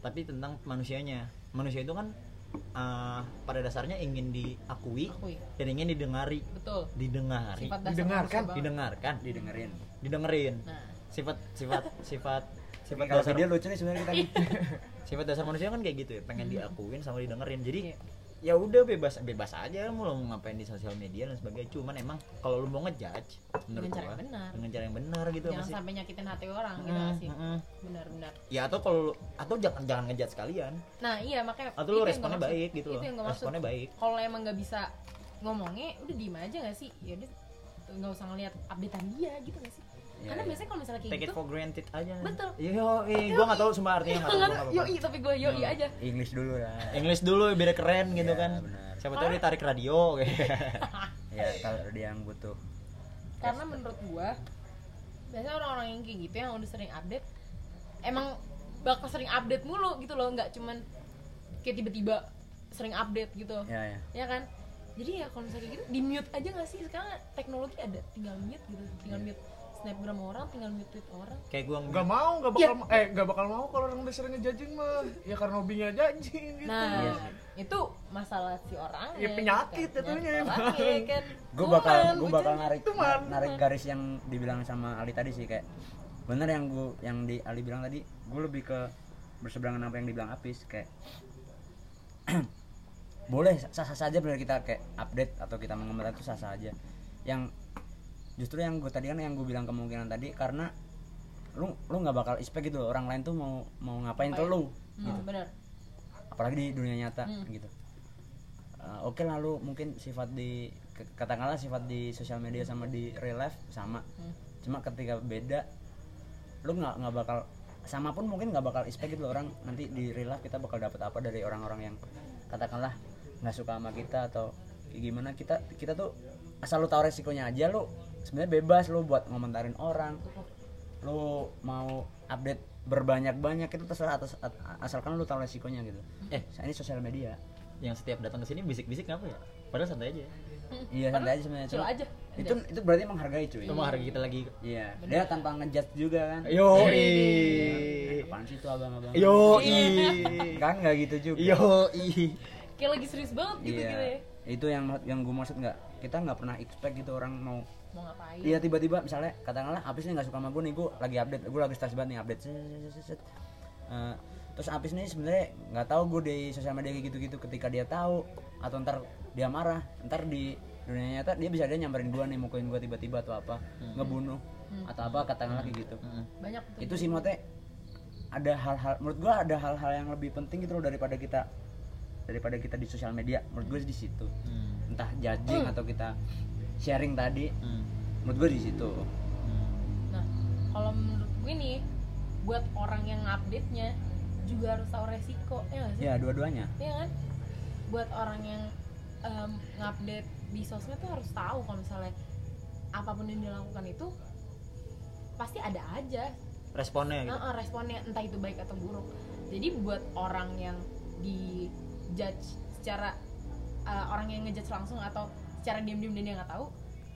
B: tapi tentang manusianya. Manusia itu kan eh, pada dasarnya ingin diakui
C: Akui.
B: dan ingin didengari,
C: Betul.
B: didengari,
C: Sifat dasar
D: Didengarkan,
C: manusia banget.
B: didengarkan,
A: didengerin
B: didengerin.
C: Nah,
B: Sifat sifat sifat
A: Tapi
B: sifat
A: kalau
B: dasar
A: video lucu nih sebenarnya kita nih.
B: sifat dasar manusia kan kayak gitu ya
C: Hmm.
B: pengen diakuin sama didengerin jadi
C: Iya.
B: ya udah bebas bebas aja mau lo ngapain di sosial media dan sebagainya cuman emang kalau lu mau ngejudge menurut
C: Dengan cara
B: gua,
C: yang benar.
B: dengan cara yang benar gitu
C: jangan
B: masih
C: sampai nyakitin hati orang
B: Mm,
C: gitu nggak sih.
B: mm.
C: Benar-benar.
B: ya atau kalau lu- atau jangan jangan ngejudge sekalian
C: Nah, iya makanya
B: atau
C: itu
B: lu
C: yang gua
B: responnya
C: maksud.
B: baik gitu
C: Itu
B: loh
C: yang gua maksud.
B: responnya baik
C: Kalau emang nggak bisa ngomongnya udah diem aja nggak sih? Ya udah nggak usah ngelihat updatean dia gitu nggak sih?
A: Iya,
C: Karena
A: iya.
C: biasanya kalau misalnya kayak
B: take it
C: gitu
B: for granted aja
C: Betul.
B: yo eh, gua nggak tahu semua artinya nggak tahu gua nggak
C: Yoi,
B: apa-apa.
C: tapi gue yoi
B: Hmm.
C: aja
A: English dulu lah
C: Iya.
B: English dulu biar keren gitu
A: Iya,
B: kan
A: benar.
B: siapa tahu ditarik radio
A: ya kalau dia yang butuh
C: Karena menurut gue Biasanya orang-orang yang kayak gitu yang udah sering update Emang bakal sering update mulu gitu loh Nggak cuman kayak tiba-tiba sering update gitu
A: ya ya
C: ya kan jadi ya kalau misalnya kayak gitu di mute aja nggak sih sekarang teknologi ada tinggal mute gitu tinggal
A: Iya.
C: mute snapgram orang tinggal mute tweet orang
B: kayak gua nggak
D: nggak
C: Ya.
D: mau nggak bakal eh nggak bakal mau kalau orang udah sering ngejajing mah ya karena hobinya jajing gitu
C: nah
A: Iya
C: itu masalah si orang gitu
D: Ya, penyakit jatuhnya emang.
C: kan
A: gue bakal
C: Cuman,
A: gue bakal
C: bucin.
A: narik
D: cuman,
A: narik
C: cuman.
A: garis yang dibilang sama Ali tadi sih kayak bener yang gue yang di Ali bilang tadi gue lebih ke berseberangan apa yang dibilang Apis kayak boleh sah sah saja bener kita kayak update atau kita mengembangkan itu sah sah aja yang justru yang gue tadi kan yang gue bilang kemungkinan tadi karena lu lu nggak bakal expect gitu loh, orang lain tuh mau mau ngapain ke lu
C: hmm, bener
A: apalagi di dunia nyata gitu Eh, oke lalu mungkin sifat di ke- katakanlah sifat di sosial media sama di real life sama cuma ketika beda lu nggak nggak bakal sama pun mungkin nggak bakal expect gitu loh orang nanti di real life kita bakal dapat apa dari orang-orang yang katakanlah nggak suka sama kita atau kayak gimana kita kita tuh asal lu tahu resikonya aja lu sebenarnya bebas lu buat ngomentarin orang lu mau update berbanyak-banyak itu terserah atas at- asalkan lu tahu resikonya gitu.
B: Eh.
A: ini sosial media.
B: yang setiap datang ke sini bisik-bisik apa ya padahal santai aja
A: Iya santai aja sebenarnya.
C: chill
A: Cuma
C: aja.
A: Itu itu berarti menghargai cuy.
B: itu mah hari kita lagi
A: Iya, dia tanpa ngejudge juga kan.
B: Yo
A: Eh, Apaan sih tuh abang-abang?
B: Yo Iya.
A: Kan nggak gitu juga.
B: Yo
C: kayak lagi serius banget gitu gitu ya
A: Iya. Itu yang yang gue maksud nggak. Kita nggak pernah expect gitu orang mau
C: mau ngapain
A: Iya tiba-tiba misalnya katakanlah Apis nih nggak suka sama gue nih gue lagi update gue lagi stres banget nih update set, set, set, set, set. Eh, terus Apis nih sebenarnya nggak tahu gue di sosial media kayak gitu-gitu ketika dia tahu atau ntar dia marah ntar di dunia nyata dia bisa aja nyamperin gue nih mukulin gue tiba-tiba atau apa ngebunuh atau apa katakanlah kayak gitu
C: banyak tuh
A: itu sih mote ada hal-hal menurut gue ada hal-hal yang lebih penting gitu loh daripada kita daripada kita di sosial media menurut gue di situ
B: Hmm.
A: entah judging atau kita sharing tadi
B: Hmm.
A: menurut gue di situ
C: nah kalau menurut gue nih buat orang yang update nya juga harus tahu resiko ya nggak sih
A: ya dua-duanya
C: Iya kan? Buat orang yang em, ngupdate di sosmed tuh harus tahu kalau misalnya apapun yang dilakukan itu pasti ada aja
B: Responnya gitu.
C: Nah, eh, responnya entah itu baik atau buruk. Jadi buat orang yang di judge secara eh, orang yang ngejudge langsung atau secara diam-diam dan dia nggak tahu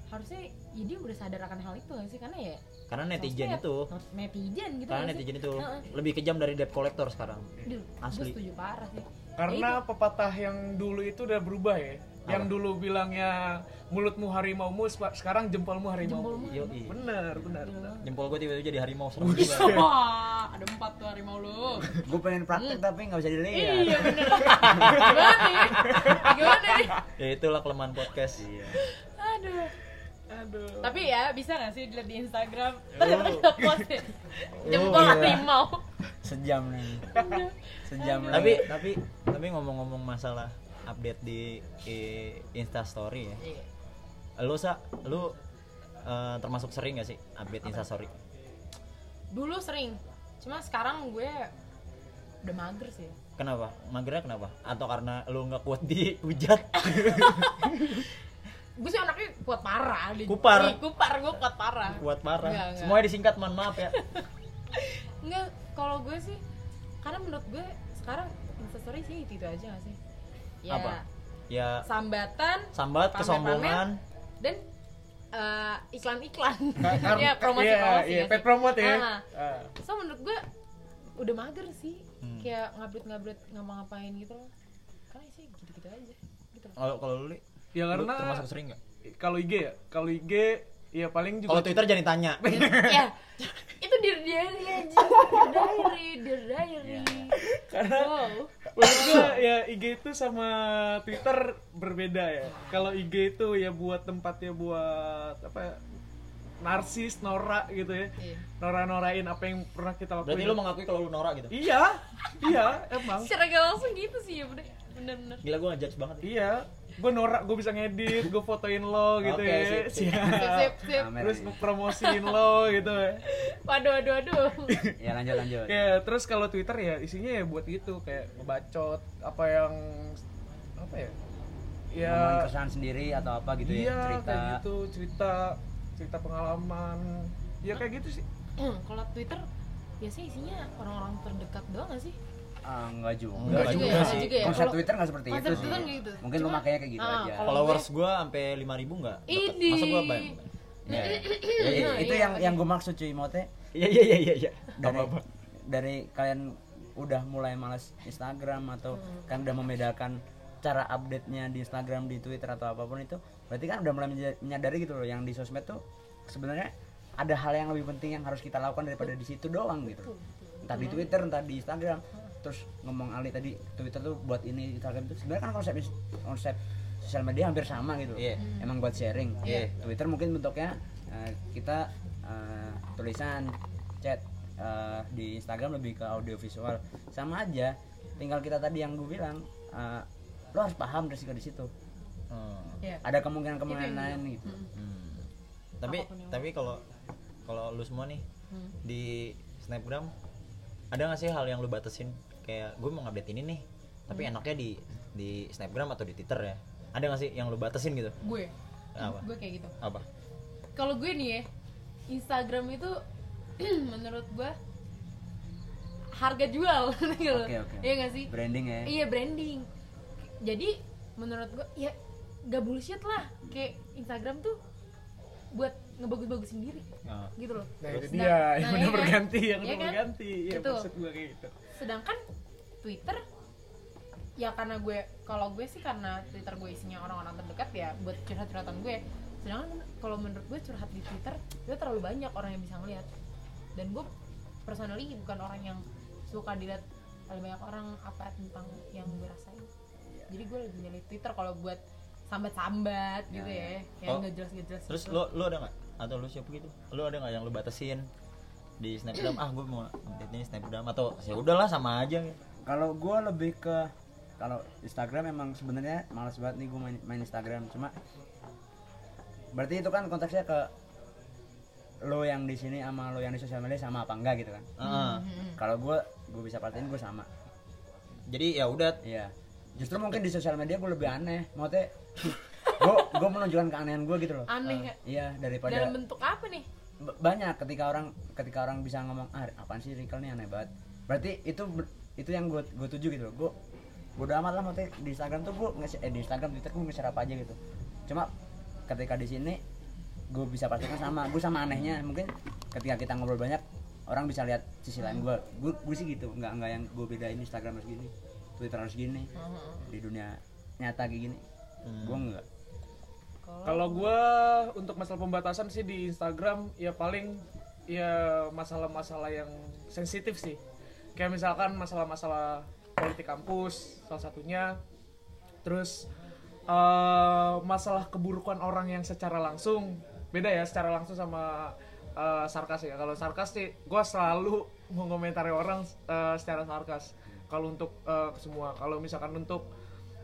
C: harusnya ya dia udah sadar akan hal itu nggak sih karena ya
B: Karena netizen
C: sosmed,
B: itu,
C: netizen gitu
B: karena
C: nggak sih?
B: netizen itu
C: Heeh.
B: lebih kejam dari debt collector sekarang.
C: Duh, gue
B: Asli.
C: setuju parah sih Iya,
D: karena pepatah yang dulu itu udah berubah ya yang dulu bilangnya mulutmu harimaumu sepa- sekarang jempolmu harimau
C: jempolmu
B: Yo,
D: bener bener, bener.
B: jempol gue tiba-tiba jadi harimau serem juga.
C: Wah, ada empat tuh harimau lu.
A: gue pengen praktek tapi nggak bisa dilihat
C: Iya bener. Gimana nih? Gimana nih?
B: ya itulah kelemahan podcast.
C: Aduh.
D: aduh
C: Tapi ya bisa gak sih dilihat di Instagram?
B: Oh.
C: Terus ada postin jempol
B: iya.
A: gila.
C: harimau.
A: sejam nih sejam Iya.
B: tapi tapi tapi ngomong-ngomong masalah update di i- Insta Story ya.
C: Iya.
B: Lu sa, lu eh, termasuk sering gak sih update Insta Story?
C: dulu sering cuma sekarang gue udah mager sih
B: Kenapa? Magernya kenapa? Atau karena lu nggak kuat di hujat?
C: gue sih anaknya kuat parah di-
B: Kupar.
C: Ih, kupar gue kuat parah
B: kuat parah.
C: Nggak, nggak.
B: Semuanya disingkat, mohon maaf ya.
C: Enggak, kalau gue sih karena menurut gue sekarang instastory sih itu, itu aja gak sih? Ya,
B: Apa? Ya
C: sambatan,
B: sambat
C: pamer-pamer,
B: kesombongan.
C: dan eh, iklan-iklan. ya
D: Kar- iya,
C: promosi-promosi.
D: iya,
C: nggak
D: paid
C: sih?
D: promote ya.
C: Ah.
D: Ah.
C: So menurut gue udah mager sih.
B: Hmm.
C: Kayak ngupload-ngupload ngapa-ngapain gitu loh. Karena sih gitu-gitu aja. Gitu. loh.
B: Kalau kalau lu Li,
D: Ya
B: lu
D: karena
B: termasuk sering nggak?
D: kalau IG ya, kalau IG ya paling
B: Kalau
D: juga
B: Twitter jangan ditanya.
C: ya, itu dear diary aja. Dear diary, dear diary.
B: Iya.
C: Wow.
D: menurut gua ya IG itu sama Twitter berbeda ya. Kalau IG itu ya buat tempatnya buat apa ya, narsis, norak gitu ya.
C: Iya.
D: Norak-norain apa yang pernah kita lakuin.
B: Berarti lu mengakui kalau lu norak gitu.
D: Iya, iya emang.
C: Secara gak langsung gitu sih ya bener- bener-bener.
B: Gila gua ngejudge banget. ya.
D: Iya, gue norak, gue bisa ngedit, gue fotoin lo gitu
B: Oke,
D: ya.
B: sip, sip.
D: Siap.
C: Sip, sip, sip.
A: Pamer
D: Terus
A: aja.
D: promosiin lo gitu ya.
C: Waduh, waduh, waduh.
A: ya lanjut lanjut
D: Ya, terus kalau Twitter ya isinya ya buat gitu kayak ngebacot apa yang apa ya? Ya
A: Ngomongin keresahan sendiri atau apa gitu
D: iya,
A: ya cerita
D: kayak gitu, cerita cerita pengalaman. Ya kayak gitu sih.
C: Kalau Twitter biasanya isinya orang-orang terdekat doang gak sih?
A: Ah, enggak juga
B: Enggak juga
A: Enggak
B: sih.
C: Juga ya?
A: konsep
C: Kalau-
A: Twitter nggak seperti
C: konsep
A: itu sih
C: Twitter nggak gitu.
A: mungkin lu
C: Cuma-
A: makanya kayak gitu
C: ah,
A: aja
C: kalau-
B: Followers gua sampai 5000 enggak?
C: Ini.
B: Masa gua bayang.
A: Ya, ya. Ya,
C: Iya,
A: i- itu
C: iya,
A: yang
C: makanya.
A: yang gue maksud cuy maksudnya
B: Iya iya iya iya iya. Gak
A: dari
B: apa-apa.
A: dari kalian udah mulai malas Instagram atau kan udah membedakan cara update-nya di Instagram, di Twitter atau apapun itu, berarti kan udah mulai menja- menyadari gitu loh yang di sosmed tuh sebenarnya ada hal yang lebih penting yang harus kita lakukan daripada di situ doang gitu. Entah di Twitter, entah di Instagram. Terus ngomong Ali tadi Twitter tuh buat ini Instagram tuh sebenarnya kan konsep konsep sosial media hampir sama gitu.
B: Iya.
A: Emang buat sharing.
B: Iya.
A: Twitter mungkin bentuknya eh, kita eh, tulisan chat eh, di Instagram lebih ke audiovisual sama aja tinggal kita tadi yang gue bilang eh, lo harus paham risiko di situ
B: Hmm.
C: Iya.
A: ada kemungkinan kemungkinan lain gitu
B: Hmm. Tapi tapi kalau kalau lu semua nih
C: Hmm.
B: di Snapgram ada nggak sih hal yang lu batasin kayak gue mau update ini nih tapi enaknya di di Snapgram atau di Twitter ya ada nggak sih yang lu batasin gitu
C: Gue.
B: Apa?
C: Gue kayak gitu.
B: apa
C: Kalau gue nih ya, Instagram itu menurut gue harga jual gitu loh.
A: Oke, oke.
C: Iya gak sih?
A: branding ya
C: Iya branding. Jadi menurut gue ya gak bullshit lah. Kayak Instagram tuh buat ngebagus-bagusin diri
B: Nah,
C: gitu loh.
D: Nah, itu
C: Sedang-
D: dia yang
C: nah,
D: benar
C: iya kan?
D: berganti, yang
C: Iya
D: benar
C: kan?
D: berganti. Ya
C: Gitu.
D: maksud gue kayak gitu.
C: sedangkan Twitter ya karena gue kalau gue sih karena Twitter gue isinya orang-orang terdekat ya buat curhat-curhatan gue sedangkan kalau menurut gue curhat di Twitter itu terlalu banyak orang yang bisa ngeliat dan gue personally bukan orang yang suka dilihat terlalu banyak orang apa tentang yang gue rasain
D: Iya.
C: jadi gue lebih nyari Twitter kalau buat sambat-sambat
D: Iya,
C: gitu
A: Ya,
C: ya,
B: Oh.
C: yang nggak jelas-nggak jelas
B: terus
C: gitu.
B: lu lu ada nggak atau lu siapa gitu lu ada nggak yang lu batasin di Snapgram ah gue mau update ini Snapgram atau ya udahlah sama aja gitu.
A: kalau gue lebih ke kalau Instagram emang sebenarnya malas banget nih gue main, main Instagram cuma berarti itu kan konteksnya ke lo yang di sini sama lo yang di sosial media sama apa enggak gitu kan
B: Ah,
A: kalau gue gue bisa pastiin gue sama
B: jadi ya udah
A: Iya. Justru mungkin di sosial media gue lebih aneh. Maksudnya gue gue menunjukkan keanehan gue gitu loh.
C: aneh ya.
A: Iya daripada
C: dalam bentuk apa nih
A: b- banyak ketika orang ketika orang bisa ngomong ah apaan sih Rikal nih aneh banget. Berarti itu ber- itu yang gue gue tuju gitu loh. Gue bodo amat lah maksudnya di Instagram tuh gue nge- eh, di Instagram Twitter gue nge-share apa aja gitu. Cuma ketika di sini gue bisa pastikan sama gue sama anehnya mungkin ketika kita ngobrol banyak orang bisa lihat sisi lain gue gue gue sih gitu nggak nggak yang gue bedain Instagram harus gini Twitter harus gini di dunia nyata kayak gini gue enggak
D: Kalau gue untuk masalah pembatasan sih di Instagram ya paling ya masalah-masalah yang sensitif sih. Kayak misalkan masalah-masalah politik kampus salah satunya. Terus eh, masalah keburukan orang yang secara langsung beda ya secara langsung sama eh, sarkas ya. Kalau sarkas sih gue selalu mengomentari orang eh, secara sarkas. Kalau untuk eh, semua, kalau misalkan untuk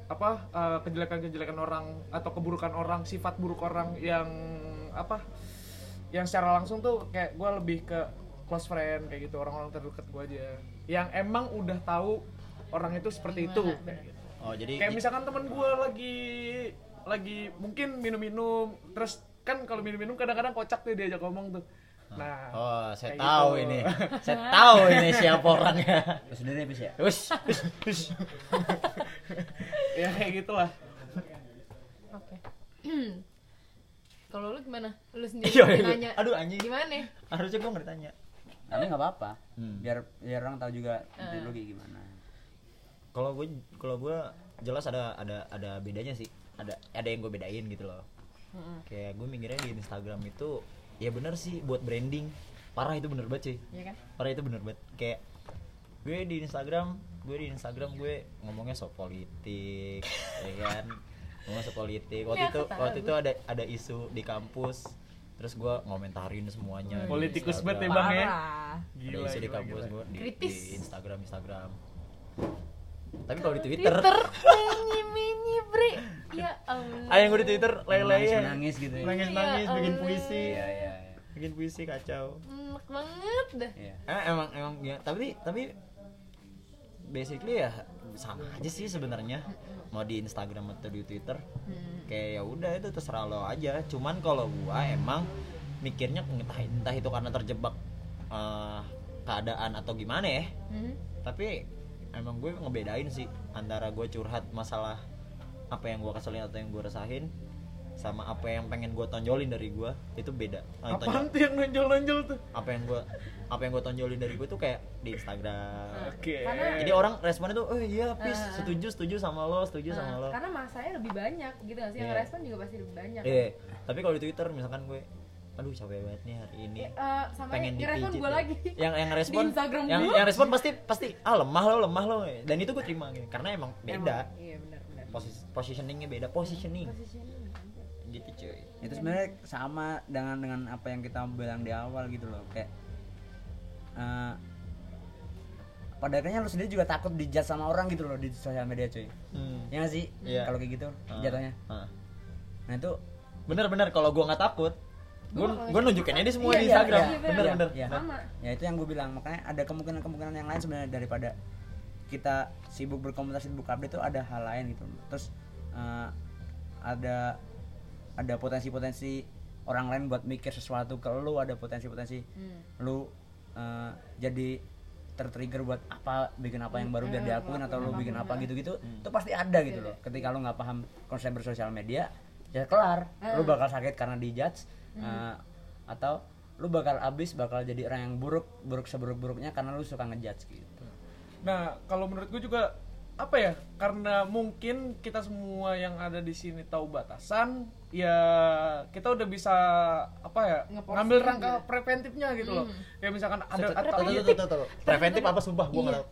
D: apa eh, kejelekan-kejelekan orang atau keburukan orang, sifat buruk orang yang apa yang secara langsung tuh kayak gue lebih ke close friend kayak gitu orang-orang terdekat gue aja yang emang udah tahu orang itu seperti itu
C: Gimana?
D: kayak gitu
B: Oh jadi
D: kayak misalkan temen gue lagi lagi mungkin minum-minum terus kan kalau minum-minum kadang-kadang kocak tuh diajak ngomong tuh nah
B: Oh, saya
D: kayak
B: tahu
D: gitu.
B: ini. Saya tahu ini siapa orangnya.
A: Lu sendiri habis ya
B: Wis.
D: ya kayak gitulah
C: Oke. Kalau lu gimana? Lu sendiri
B: Iya, iya.
C: nanya.
B: Aduh, anjing.
C: Gimana?
B: Harusnya gua nggak ditanya.
A: tapi nggak apa-apa
B: Hmm.
A: biar biar orang tahu juga diri lu kayak gimana
B: Kalau gue kalau gua jelas ada ada ada bedanya sih. Ada ada yang gue bedain gitu loh. Kayak gue mikirnya di Instagram itu ya bener sih buat branding. Parah itu bener banget sih.
C: Iya kan?
B: Parah itu bener banget. Kayak gue di Instagram, gue di Instagram gue ngomongnya soal politik, ya kan? Ngomong soal politik.
C: Ini
B: Waktu itu
C: aku tahu,
B: waktu itu
C: gue.
B: ada ada isu di kampus. Terus gue ngomentarin semuanya. di
D: Politikus banget ya,
B: Instagram.
D: Bang, ya.
C: Parah.
B: Gila,
D: gila,
B: ada isi di
D: gila,
B: kampus
D: gila.
B: gua di,
C: Kritis.
B: di Instagram Instagram. Tapi kalau di Twitter,
C: menyi menyi bre. Ya ampun.
B: ah yang gue di Twitter lele
A: nangis
B: ya.
A: nangis gitu ya
B: Nangis nangis,
C: Ya
B: bikin
C: Allah.
B: puisi,
A: iya iya iya.
B: bikin puisi kacau.
C: Enak banget dah.
A: iya
B: Eh, emang emang ya, tapi tapi basically ya sama aja sih sebenarnya mau di Instagram atau di Twitter
C: Hmm.
B: kayak ya udah itu terserah lo aja cuman kalau gua emang mikirnya entah entah itu karena terjebak eh, keadaan atau gimana ya
C: Hmm.
B: tapi emang gue ngebedain sih antara gue curhat masalah apa yang gue keselin atau yang gue resahin sama apa yang pengen gue tonjolin dari gue itu beda Eh,
D: apaan
B: tonjol-
D: tuh yang nonjol-nonjol tuh
B: apa yang gue apa yang gue tonjolin dari gue tuh kayak di Instagram
D: oke
C: Nah, Karena-
B: jadi orang responnya tuh oh iya pis
C: Ah.
B: setuju setuju sama lo setuju Iya, sama
C: Nah,
B: lo
C: Karena masanya lebih banyak gitu gak sih? Yang
B: Iya.
C: respon juga pasti lebih banyak.
B: Iya, tapi kalau di Twitter misalkan gue aduh capek banget nih hari ini
C: Eh, eh, sama
B: pengen
C: yang respon
B: dipijit
C: gue
B: ya.
C: lagi.
B: yang yang respon
C: Di Instagram
B: yang
C: gua.
B: yang respon pasti pasti ah lemah lo lemah lo dan itu gue terima gitu karena emang beda
C: Emang, Iya benar benar.
B: Posis, positioningnya beda positioning
C: Positioning. anjir.
B: gitu cuy
A: itu sebenarnya sama dengan dengan apa yang kita bilang di awal gitu loh kayak eh pada akhirnya lu sendiri juga takut dijudge sama orang gitu loh di sosial media cuy
B: hmm.
A: ya gak sih
B: Iya.
A: kalau kayak gitu
B: Ah,
A: jatuhnya
B: ah.
A: nah itu
B: bener-bener kalau gue nggak takut gue
C: Gua nggak
B: gue nunjukin aja semua
C: Iya,
B: di
C: iya,
B: Instagram
C: iya, iya,
A: iya,
B: bener-bener Nah,
A: iya.
C: Sama.
A: ya itu yang gue bilang makanya ada kemungkinan kemungkinan yang lain sebenarnya daripada kita sibuk berkomentar sibuk update itu ada hal lain gitu terus eh, ada ada potensi-potensi orang lain buat mikir sesuatu ke lu ada potensi-potensi
C: Hmm.
A: lu eh, jadi tertrigger buat apa bikin apa yang baru biar
C: eh,
A: diakuin atau lu
C: ngelakuin
A: bikin
C: apa,
A: apa gitu-gitu itu pasti ada gitu loh ketika lu nggak paham konsep bersosial media ya kelar lu bakal sakit karena dijudge eh, atau lu bakal abis bakal jadi orang yang buruk buruk seburuk-buruknya karena lu suka ngejudge gitu
D: Nah, kalau menurut gue juga apa ya? Karena mungkin kita semua yang ada di sini tahu batasan, ya kita udah bisa apa ya?
C: Ngeporsi
D: ngambil
C: aja.
D: rangka preventifnya gitu loh.
C: Hmm.
D: Kayak misalkan ada atau
B: Tuh, tuh, tuh, tuh, tuh. preventif apa sumpah gue nggak tahu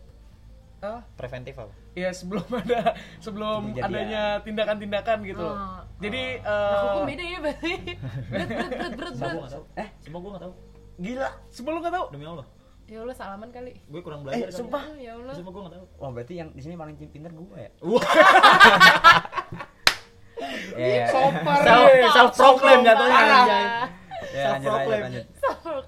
D: Hah?
B: preventif apa
D: ya sebelum ada sebelum
A: Kejadian.
D: adanya tindakan-tindakan gitu loh.
C: Ah.
D: Jadi
A: Oh.
C: Nah,
D: eh,
C: hukum beda ya, Bang. Berat berat berat berat
B: sumpah gue
C: berat.
B: nggak tahu
A: Eh?
B: sumpah gue nggak tahu
A: gila
D: sebelum nggak tahu.
B: demi Allah
C: Ya Allah salaman kali.
B: gue kurang
A: Eh,
B: belajar kali.
A: sumpah.
C: Ya Allah.
B: sumpah gue nggak tahu
A: wah berarti yang di sini paling pinter gue ya
D: Ih,
A: Iya,
D: Sopar.
B: Self-
D: ya.
B: self-proclaim jatuhnya,
C: Iya.
D: Parah.
B: anjay.
A: ya, lanjut, lanjut,
B: Self-proclaim.
A: lanjut.
C: Sorok.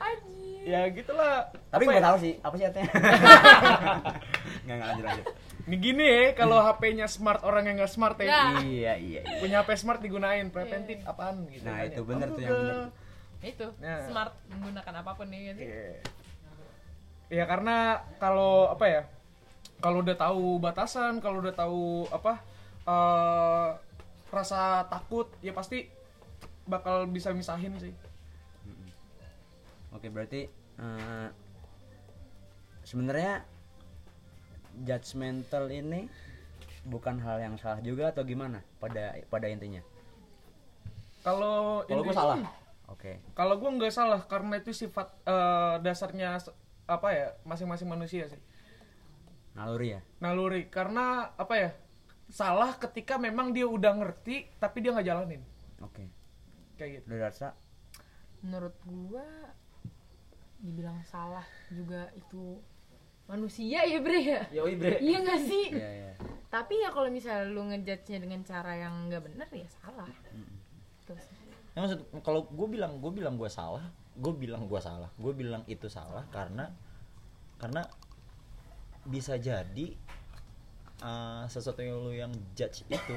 C: Anjir.
D: Ya gitulah.
A: tapi
D: Apa
A: gue
D: ya?
A: tahu sih apa sih artinya nggak nggak lanjut lanjut
D: Nih gini ya, kalau HP-nya smart orang yang nggak smart
C: Ya.
D: ya.
C: Iya.
A: iya iya iya.
D: punya HP smart digunain preventif apaan gitu
A: Nah,
D: kan
A: itu
D: ya.
A: bener
D: Oh,
A: tuh yang bener.
C: Itu
D: Nah.
C: smart menggunakan apapun nih ya sih.
D: Iya. ya karena kalau apa ya kalau udah tahu batasan kalau udah tahu apa eh, rasa takut ya pasti bakal bisa misahin sih
A: Oke berarti eh, sebenarnya judgmental ini bukan hal yang salah juga atau gimana pada pada intinya.
D: kalau hmm.
B: kalau gue
D: Indonesia-
B: salah
A: Oke.
D: kalau gue nggak salah karena itu sifat eh, dasarnya s- apa ya masing-masing manusia sih
A: Naluri ya.
D: naluri karena apa ya salah ketika memang dia udah ngerti tapi dia nggak jalanin
A: Oke.
D: kayak gitu
A: Lu rasa
C: Menurut gua dibilang salah juga itu manusia ya bre ya
A: Yoi, Bre.
C: iya nggak sih
A: Iya, iya.
C: tapi ya kalau misalnya lu ngejudge nya dengan cara yang nggak bener ya salah Gitu terus
B: Ya, maksud kalau gue bilang gue bilang gue salah, gue bilang gue salah, gue bilang itu salah karena karena bisa jadi uh, sesuatu yang lu yang judge itu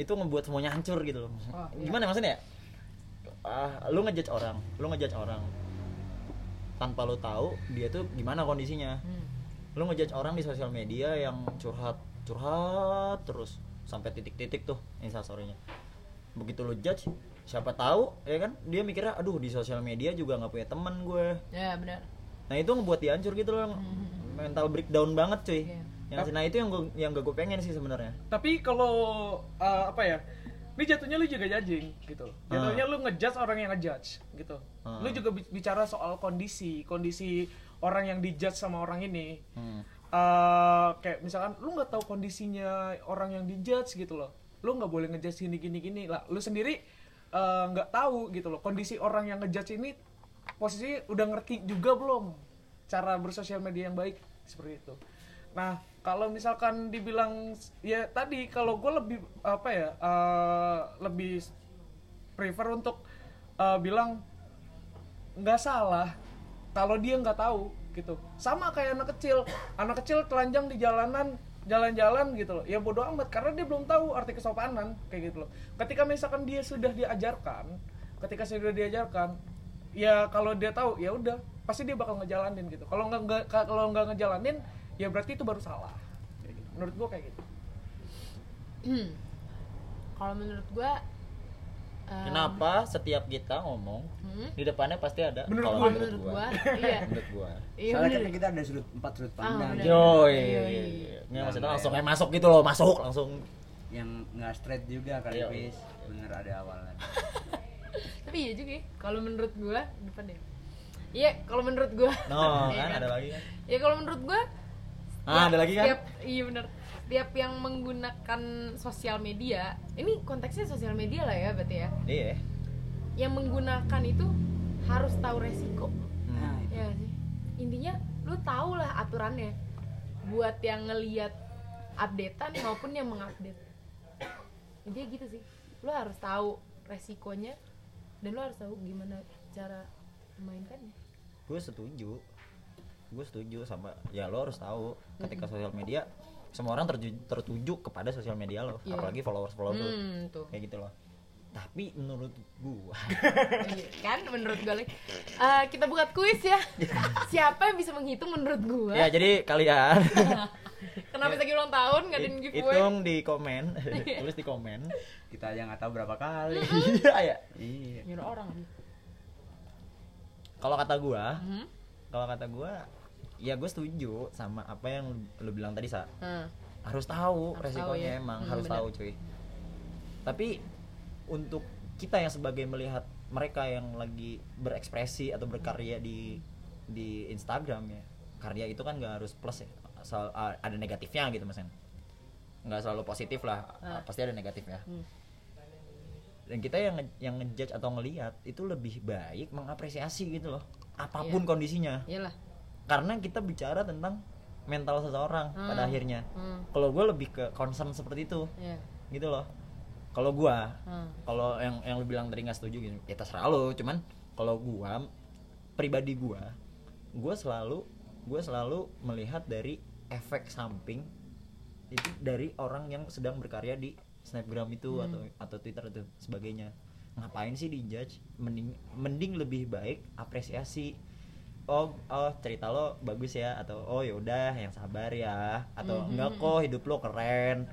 B: itu ngebuat semuanya hancur gitu loh.
C: Oh, iya.
B: Gimana maksudnya? ya? Ah, lu ngejudge orang, lu ngejudge orang tanpa lu tahu dia tuh gimana kondisinya.
C: hmm.
B: Lu ngejudge orang di sosial media yang curhat curhat terus sampai titik-titik tuh instastorynya begitu lu judge siapa tahu ya kan dia mikirnya aduh di sosial media juga nggak punya teman gue
C: ya benar
B: nah itu ngebuat dia hancur gitu loh mental breakdown banget cuy
C: Iya.
B: yang sih, nah itu yang gue yang gak gue pengen sih sebenarnya
D: tapi kalau eh, apa ya ini jatuhnya lu juga judging gitu jatuhnya lu ngejudge orang yang ngejudge gitu
B: Hmm.
D: lu juga bi- bicara soal kondisi kondisi orang yang dijudge sama orang ini
B: Hmm.
D: Eh, kayak misalkan lu nggak tahu kondisinya orang yang dijudge gitu loh lu nggak boleh ngejudge gini gini gini lah lu sendiri eh, nggak tahu gitu loh kondisi orang yang ngejudge ini posisinya udah ngerti juga belum cara bersosial media yang baik seperti itu nah kalau misalkan dibilang ya tadi kalau gue lebih apa ya eh, lebih prefer untuk eh, bilang nggak salah kalau dia nggak tahu gitu sama kayak anak kecil anak kecil telanjang di jalanan jalan-jalan gitu loh ya bodoh amat karena dia belum tahu arti kesopanan kayak gitu loh ketika misalkan dia sudah diajarkan ketika sudah diajarkan ya kalau dia tahu ya udah pasti dia bakal ngejalanin gitu kalau nggak nggak- kalau nggak ngejalanin ya berarti itu baru salah Kayak gitu. menurut gua kayak gitu
C: Hmm. kalau menurut gua eh,
B: kenapa setiap kita ngomong
C: hmm?
B: di depannya pasti ada
D: Menurut
B: kalau
D: gue.
C: menurut gua iya
B: menurut gue
C: iya
A: Soalnya kan
C: bener. Ah,
A: kita ada sudut empat sudut pandang
C: bener.
A: yang-
B: yo
C: Iya,
B: iya
C: iya.
B: iya. nggak maksudnya langsung kayak masuk gitu loh masuk langsung
A: yang nggak straight juga kali
B: Iya.
A: Fis. bener ada awalan
C: tapi iya juga ya kalau menurut gua depan deh iya kalau menurut gua
B: no
C: Iya
B: kan ada lagi kan
C: ya kalau menurut gua
B: ah ada lagi kan
C: tiap iya bener tiap yang menggunakan sosial media ini konteksnya sosial media lah ya berarti ya
B: iya
C: yang menggunakan itu harus tahu resiko
B: Hmm.
A: nah itu
C: ya nggak sih intinya lu tau lah aturannya buat yang ngeliat updatean maupun yang mengupdate intinya gitu sih lu harus tahu resikonya dan lu harus tahu gimana cara memainkannya
B: gue setuju gue setuju sama ya lo harus tahu ketika
C: Hmm.
B: sosial media semua orang terju- tertuju kepada sosial media lo
C: Iya.
B: apalagi followers followers lo
C: hmm tuh
B: kayak gitu loh tapi menurut gua
C: Iya, kan menurut gue like, eh, kita buat kuis ya siapa yang bisa menghitung menurut gue
B: ya jadi kalian
C: kenapa lagi ulang tahun ngadain
B: hit-
C: giveaway
B: hitung di komen
C: Iya.
B: tulis di komen
A: kita aja nggak tahu berapa kali
B: iya ya
A: iya
C: nyuruh orang
B: kalau kata gua
C: hmm?
B: kalau kata gua ya gue setuju sama apa yang lo bilang tadi sa
C: Hmm.
B: harus tahu
C: Harus tahu,
B: resikonya
C: ya.
B: emang
C: Hmm,
B: harus
C: benar.
B: tahu cuy tapi untuk kita yang sebagai melihat mereka yang lagi berekspresi atau berkarya di di Instagram ya karya itu kan nggak harus plus ya asal a- ada negatifnya gitu mas En. nggak selalu positif lah
C: Ah.
B: pasti ada negatif ya
C: Hmm.
B: dan kita yang nge- yang ngejudge atau ngelihat itu lebih baik mengapresiasi gitu loh apapun
C: Iya.
B: kondisinya
C: iyalah
B: karena kita bicara tentang mental seseorang pada
C: Hmm.
B: akhirnya
C: hmm.
B: kalau gue lebih ke concern seperti itu
C: Iya.
B: gitu loh kalau gua
C: Hmm.
B: kalau yang yang lu bilang tadi nggak setuju gitu ya terserah lo cuman kalau gua pribadi gua gua selalu gua selalu melihat dari efek samping itu dari orang yang sedang berkarya di snapgram itu atau atau twitter itu sebagainya ngapain sih dijudge mending mending lebih baik apresiasi oh oh cerita lo bagus ya atau oh yaudah yang sabar ya atau enggak kok hidup lo keren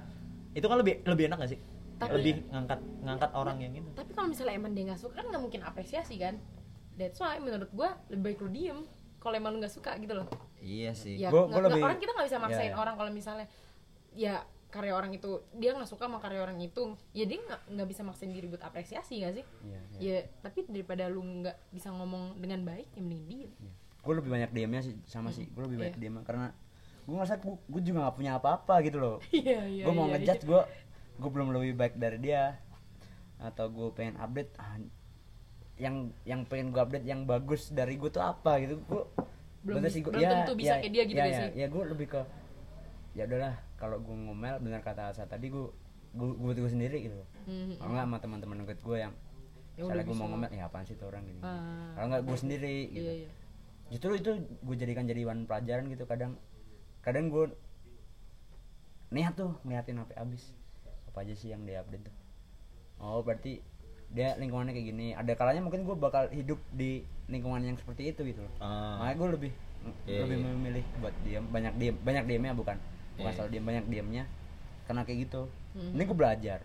B: itu kan lebih lebih enak gak sih
C: Tapi-
B: lebih ngangkat ngangkat orang yang itu
C: tapi kalau misalnya emang dia nggak suka kan nggak mungkin apresiasi kan that's why menurut gue lebih baik lu diem kalau emang lu nggak suka gitu loh
B: iya sih
C: ya
B: Gua-
C: nggak-
B: gua
C: nggak-
B: lebih-
C: orang kita nggak bisa maksain
B: Iya.
C: orang kalau misalnya ya karya orang itu dia nggak suka sama karya orang itu ya dia nggak nggak bisa maksain diri buat apresiasi gak sih
A: iya
C: ya tapi daripada lu nggak bisa ngomong dengan baik ya mending diem
A: gue Iya. lebih banyak diemnya sih sama sih gue lebih banyak
C: Iya.
A: diem karena gue ngerasa gue juga nggak punya apa-apa gitu loh
C: iya iya
A: gue mau
C: iya,
A: ngejudge gue gue belum lebih baik dari dia atau gue pengen update ah, yang yang pengen gue update yang bagus dari gue tuh apa gitu gue
C: belum,
A: Bener
C: bis-
A: sih, gua-
C: belum tentu bisa kayak dia gitu
A: ya,
C: gak
A: ya,
C: sih
A: ya gue lebih ke ya udahlah kalau gue ngomel bener kata Asa tadi gue gue buat gue sendiri gitu
C: Mhm.
A: kalau nggak sama teman-teman deket gue yang
C: Ya
A: misalnya
C: udah
A: gue mau
C: bisa.
A: ngomel ya apaan sih tuh orang gini
C: Ah.
A: kalau nggak gue sendiri gitu
C: iya iya
A: justru itu gue jadikan jadi bahan pelajaran gitu kadang kadang gue niat tuh ngeliatin sampai abis apa aja sih yang dia update tuh oh berarti dia lingkungannya kayak gini ada kalanya mungkin gue bakal hidup di lingkungan yang seperti itu gitu loh
B: Ah,
A: makanya gue lebih
B: Iya,
A: lebih
B: iya.
A: memilih buat diam banyak diam banyak diamnya bukan bukan
B: Iya.
A: selalu diam banyak diamnya karena kayak gitu
C: Mhm.
A: ini gue belajar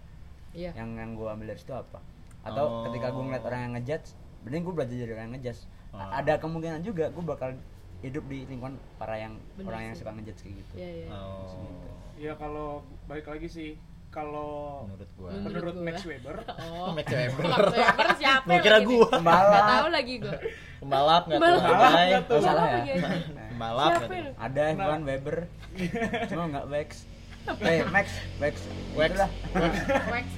B: Ya.
C: iya
A: yang yang gue ambil dari situ apa atau
B: Oh.
A: ketika gue ngeliat orang yang ngejudge mending gue belajar dari orang yang ngejudge A-
B: Oh.
A: ada kemungkinan juga gue bakal hidup di lingkungan para yang
C: Bener
A: orang yang
C: sih.
A: suka ngejudge kayak gitu
C: iya iya
B: oh,
D: ya kalau balik lagi sih kalau
B: menurut gua.
C: Menurut
D: menurut
C: gua.
D: Max Weber
C: Hmm. oh
B: Max Weber.
C: Max Weber siapa
B: Gua kira
C: lagi
B: gua.
C: nih?
A: Pembalap.
C: Nggak tahu lagi gue
B: Pembalap nggak tuh?
C: Pembalap
B: Hai.
D: nggak tuh?
A: Oh, salah
C: Pembalap
A: ya?
C: lagi, anjing.
B: Pembalap nggak
C: Siapa
B: tuh?
A: ada Ivan Weber cuma nggak Wex eh Max Wex
B: Wex.
A: Itulah.
C: Wax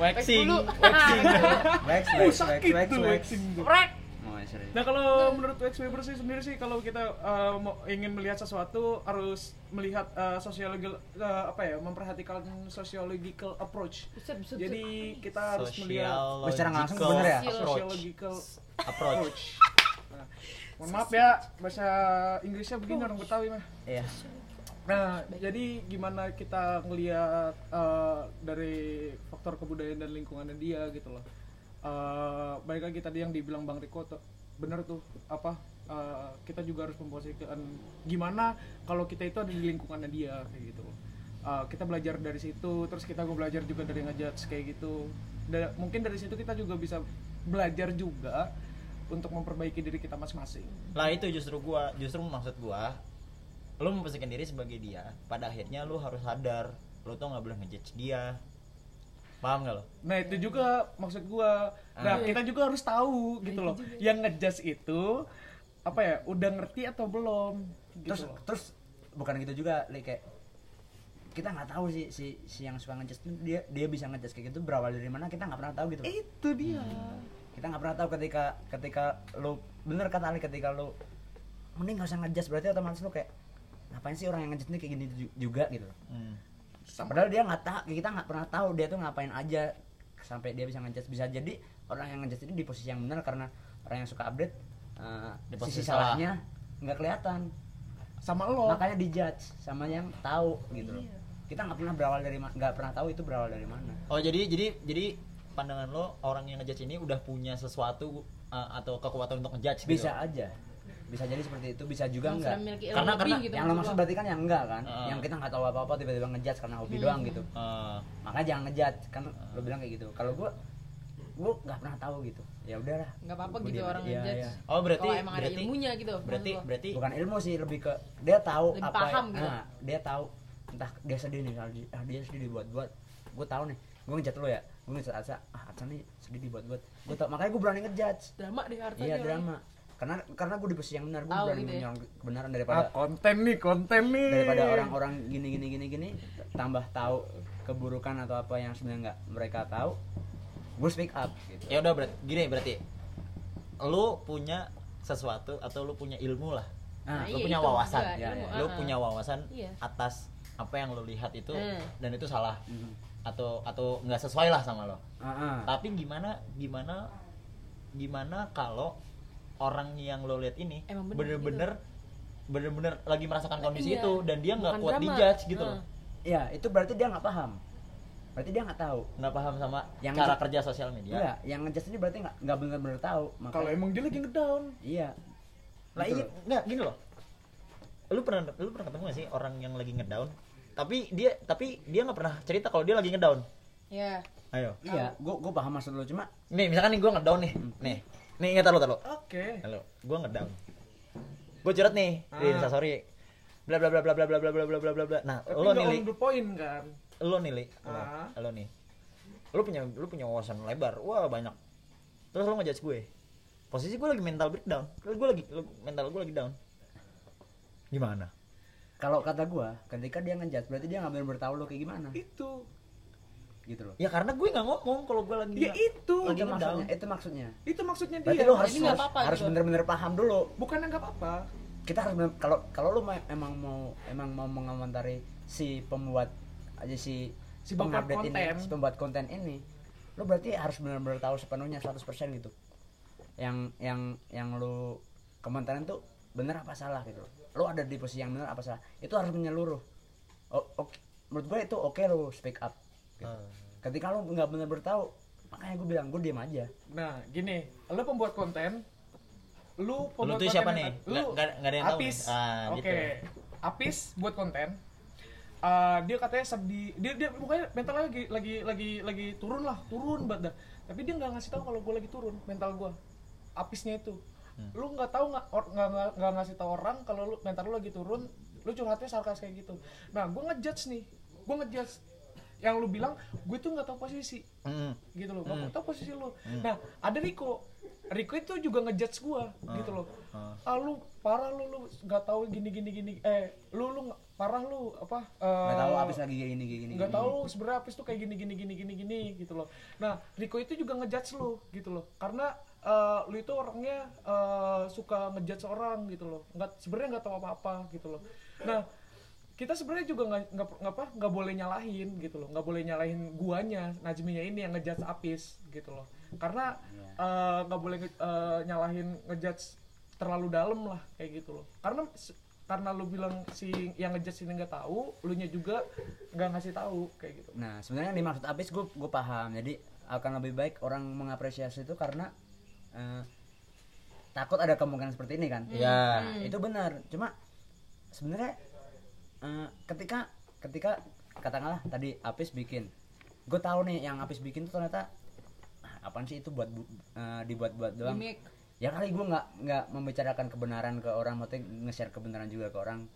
B: Waxing.
C: dulu.
B: Waxing.
A: Wex
D: Oh,
A: Wex Wex
D: sakit
A: Wex
D: tuh
A: Wex
D: waxing tuh.
C: Wax
A: Oh, ya, serius.
D: Nah kalau menurut Wex Weber sih sendiri sih kalau kita eh, mau ingin melihat sesuatu harus melihat eh, sociological eh, apa ya memperhatikan sociological approach.
C: Buset, buset, buset.
D: Jadi kita harus melihat
B: Sosial.
A: Oh, secara langsung bener ya?
B: Approach.
D: sociological
B: Approach.
D: approach. Nah, mohon maaf ya bahasa Inggrisnya begini orang Betawi mah.
A: Iya.
D: Nah, jadi gimana kita ngelihat eh, dari faktor kebudayaan dan lingkungannya dia gitu loh. Eh baik lagi tadi yang dibilang Bang Riko tuh, bener tuh apa eh, kita juga harus memposisikan gimana kalau kita itu ada di lingkungannya dia kayak gitu loh. Eh, kita belajar dari situ, terus kita gue belajar juga dari ngejudge kayak gitu. Da- mungkin dari situ kita juga bisa belajar juga untuk memperbaiki diri kita masing-masing.
B: Lah itu justru gua, justru maksud gua lu memposisikan diri sebagai dia. Pada akhirnya lu harus sadar, lu tuh nggak boleh ngejudge dia. Paham nggak lo?
D: Nah itu juga maksud gua. Nah
A: Ah.
D: kita juga harus tahu gitu
B: Nah,
D: loh. Yang ngejudge itu apa ya? Udah ngerti atau belum? Gitu
A: terus
D: loh.
A: terus bukan gitu juga Li, kayak kita nggak tahu sih si si yang suka ngejudge tuh dia dia bisa ngejudge kayak gitu berawal dari mana kita nggak pernah tahu gitu loh.
D: Itu dia.
A: kita nggak pernah tahu ketika ketika lu bener kata Ali ketika lu mending nggak usah ngejudge berarti otomatis lu kayak ngapain sih orang yang ngejudge ini kayak gini ju- juga gitu loh.
B: Hmm.
A: padahal dia nggak tahu kita nggak pernah tahu dia tuh ngapain aja sampai dia bisa ngejudge bisa jadi orang yang ngejudge ini di posisi yang benar karena orang yang suka update eh,
B: Di
A: sisi
B: posisi salah.
A: salahnya nggak kelihatan
D: Sama lo.
A: makanya dijudge sama yang tahu gitu loh
C: Iya.
A: kita nggak pernah berawal dari ma- nggak pernah tahu itu berawal dari mana
B: Oh jadi jadi jadi pandangan lo orang yang ngejudge ini udah punya sesuatu uh, atau kekuatan untuk
C: Iya.
B: ngejudge gitu?
A: bisa aja bisa jadi seperti itu bisa juga
C: yang sudah
A: enggak
C: memiliki ilmu
B: Karena-
C: lebih
B: karena
C: gitu
A: yang lo maksud
C: maksud Ah. gua.
A: berarti kan yang enggak kan
B: Heeh.
A: yang kita nggak tahu apa apa tiba-tiba ngejudge karena hobi
C: Hmm.
A: doang gitu
B: Uh,
A: makanya jangan ngejudge kan lo
C: Ah.
A: bilang kayak gitu kalau gua gua nggak pernah tahu gitu ya udahlah
C: nggak apa-apa
A: Gua
C: gitu
A: diam-
C: orang
A: iya,
C: ngejudge
A: iya.
B: oh berarti
C: kalau emang ada
B: berarti
C: ilmunya gitu maksud
B: berarti
C: gua.
B: berarti
A: bukan ilmu sih lebih ke dia tahu
C: Lebih
A: apa
C: paham gitu.
A: Nah, dia tahu entah dia sedih nih kalau di- ah, dia sedih dibuat-buat gue tahu nih gue ngejat lo ya gue ngejat Atsa ah Atsa nih sedih dibuat-buat gue tau makanya gue berani ngejudge
C: drama deh hartanya
A: iya
C: orang.
A: drama karena karena gue di posisi yang benar gue
C: Tahu
A: berani
C: gitu ya.
A: menyerang kebenaran
D: Ah,
A: daripada
D: konten nih, konten nih.
A: daripada orang-orang gini gini gini gini t- tambah tahu keburukan atau apa yang sebenarnya nggak mereka tahu gue speak up gitu
B: ya udah berarti gini berarti lu punya sesuatu atau lu punya ilmu lah
A: nah,
B: lu
C: iya,
B: punya
C: itu maksud
B: wawasan
C: gua,
A: Ya,
C: ilmu,
A: ya.
B: lu
C: ah,
B: punya
C: ah.
B: wawasan
C: Iya.
B: atas apa yang lu lihat itu
C: Hmm.
B: dan itu salah
A: Mhm.
B: atau atau nggak sesuai lah sama lo
A: Ah, ah.
B: tapi gimana gimana gimana kalau orang yang lo lihat ini
C: Emang bener gitu.
B: bener-bener bener-bener lagi merasakan kondisi
C: Iya.
B: itu dan dia nggak
C: Bukan
B: kuat
C: drama.
B: dijudge gitu
C: Nah.
B: loh
A: ya itu berarti dia nggak paham berarti dia nggak tahu
B: nggak paham sama
A: Yang Iya.
B: cara
A: nge-
B: kerja sosial media
A: Enggak, yang ngejudge ini berarti nggak nggak benar-benar tahu makanya
D: Kalau emang dia lagi ngedown.
A: iya
B: lah
A: Gitu
B: ini
A: loh.
B: nggak gini loh lu pernah lu pernah ketemu gak sih orang yang lagi ngedown tapi dia tapi dia nggak pernah cerita kalau dia lagi ngedown
C: Iya.
B: ayo
A: iya gue gue paham maksud lo cuma
B: nih misalkan nih gue ngedown nih
D: Hmm.
B: nih nih ingat lo lo
D: Oke.
B: Halo, gua ngedown. Gua curhat nih di
D: Ah.
B: Instastory. Bla bla bla bla bla bla bla bla bla bla bla bla. Nah,
D: Tapi
B: lo
D: nggak
B: nih, Li.
D: on the point kan.
B: lo nih, Li. Lo,
D: Eh, Ah.
B: lo nih. Lo punya lo punya wawasan lebar. Wah, banyak. Terus lo ngejudge gue. Posisi gue lagi mental breakdown. Gue lagi lo- mental gue lagi down. Gimana?
A: kalau kata gue ketika dia ngejudge berarti dia nggak benar-benar tahu lo kayak gimana
D: Itu.
A: gitu loh
B: Ya karena gue nggak ngomong kalau gue lagi
D: Ya itu.
B: Iya. lagi
A: itu
B: ngedown.
A: maksudnya itu maksudnya
D: Itu maksudnya
A: berarti
D: dia.
A: lo harus
C: Iya, nah, ini nggak
A: harus,
C: apa-apa
A: harus
C: gitu.
A: benar-benar paham dulu
D: Bukan yang nggak apa-apa.
A: kita harus bener- kalau kalau lu ma- emang mau emang mau mengomentari si pembuat aja si
D: Si pembuat
A: pengupdate
D: konten.
A: ini, si pembuat konten ini, lu berarti harus benar-benar tahu sepenuhnya 100% gitu. Yang yang yang lu komentarin tuh bener apa salah gitu. Lu ada di posisi yang bener apa salah. Itu harus menyeluruh. O- oke- menurut gue itu oke lu speak up. gitu. Ketika lu nggak benar-benar tahu, makanya gue bilang gue diem aja.
D: Nah, gini, lu pembuat konten, lu
B: Lu
D: pembuat
B: tuh
D: konten
B: siapa nih?
D: yang- Lu
B: Nggak- nggak- nggak ada yang tahu
D: Apis.
B: nih? Ah,
D: Oke,
B: gitu.
D: Apis buat konten. Eh, dia katanya sedih, dia dia mukanya mentalnya lagi lagi lagi lagi turun lah, turun banget dah. Tapi dia nggak ngasih tahu kalau gue lagi turun mental gue. Apisnya itu.
B: Hmm.
D: Lu nggak tahu nggak or- nggak nggak- nggak ngasih tahu orang kalau lu mental lu lagi turun, lu curhatnya sarkas kayak gitu. Nah, gue ngejudge nih. Gue ngejudge yang lu bilang gue tuh nggak tahu posisi
B: Mm.
D: gitu loh gak
A: Hmm.
D: tau posisi lo nah ada Riko Riko itu juga ngejudge gua gitu loh ah lu parah lu lu nggak tahu gini gini gini eh lu lu nggak- parah lu apa eh,
A: Nggak tahu abis lagi gini gini gini.
D: nggak
A: gini.
D: tahu lu sebenarnya apis tuh kayak gini gini gini gini gini gitu loh nah Riko itu juga ngejudge lu gitu loh karena eh, lu itu orangnya eh, suka ngejudge orang gitu loh nggak sebenarnya nggak tahu apa apa gitu loh nah kita sebenarnya juga nggak nggak nggak apa nggak boleh nyalahin gitu loh nggak boleh nyalahin guanya Najminya ini yang ngejudge apis gitu loh karena eh, nggak boleh nge- eh, nyalahin ngejudge terlalu dalam lah kayak gitu loh karena se- karena lu bilang si yang ngejudge ini nggak tahu lu nya juga nggak ngasih tahu kayak gitu
A: Nah, sebenarnya yang dimaksud abis gue gue paham. Jadi akan lebih baik orang mengapresiasi itu karena eh, takut ada kemungkinan seperti ini kan.
B: Ya.
A: Nah, Itu benar. Cuma sebenarnya eh, ketika ketika katakanlah tadi Apis bikin, gue tahu nih yang Apis bikin tuh ternyata "Ah, apaan sih itu buat bu- eh, dibuat-buat doang.
C: Gimik.
A: Ya kali gue nggak nggak membicarakan kebenaran ke orang, maksudnya nge-share kebenaran juga ke orang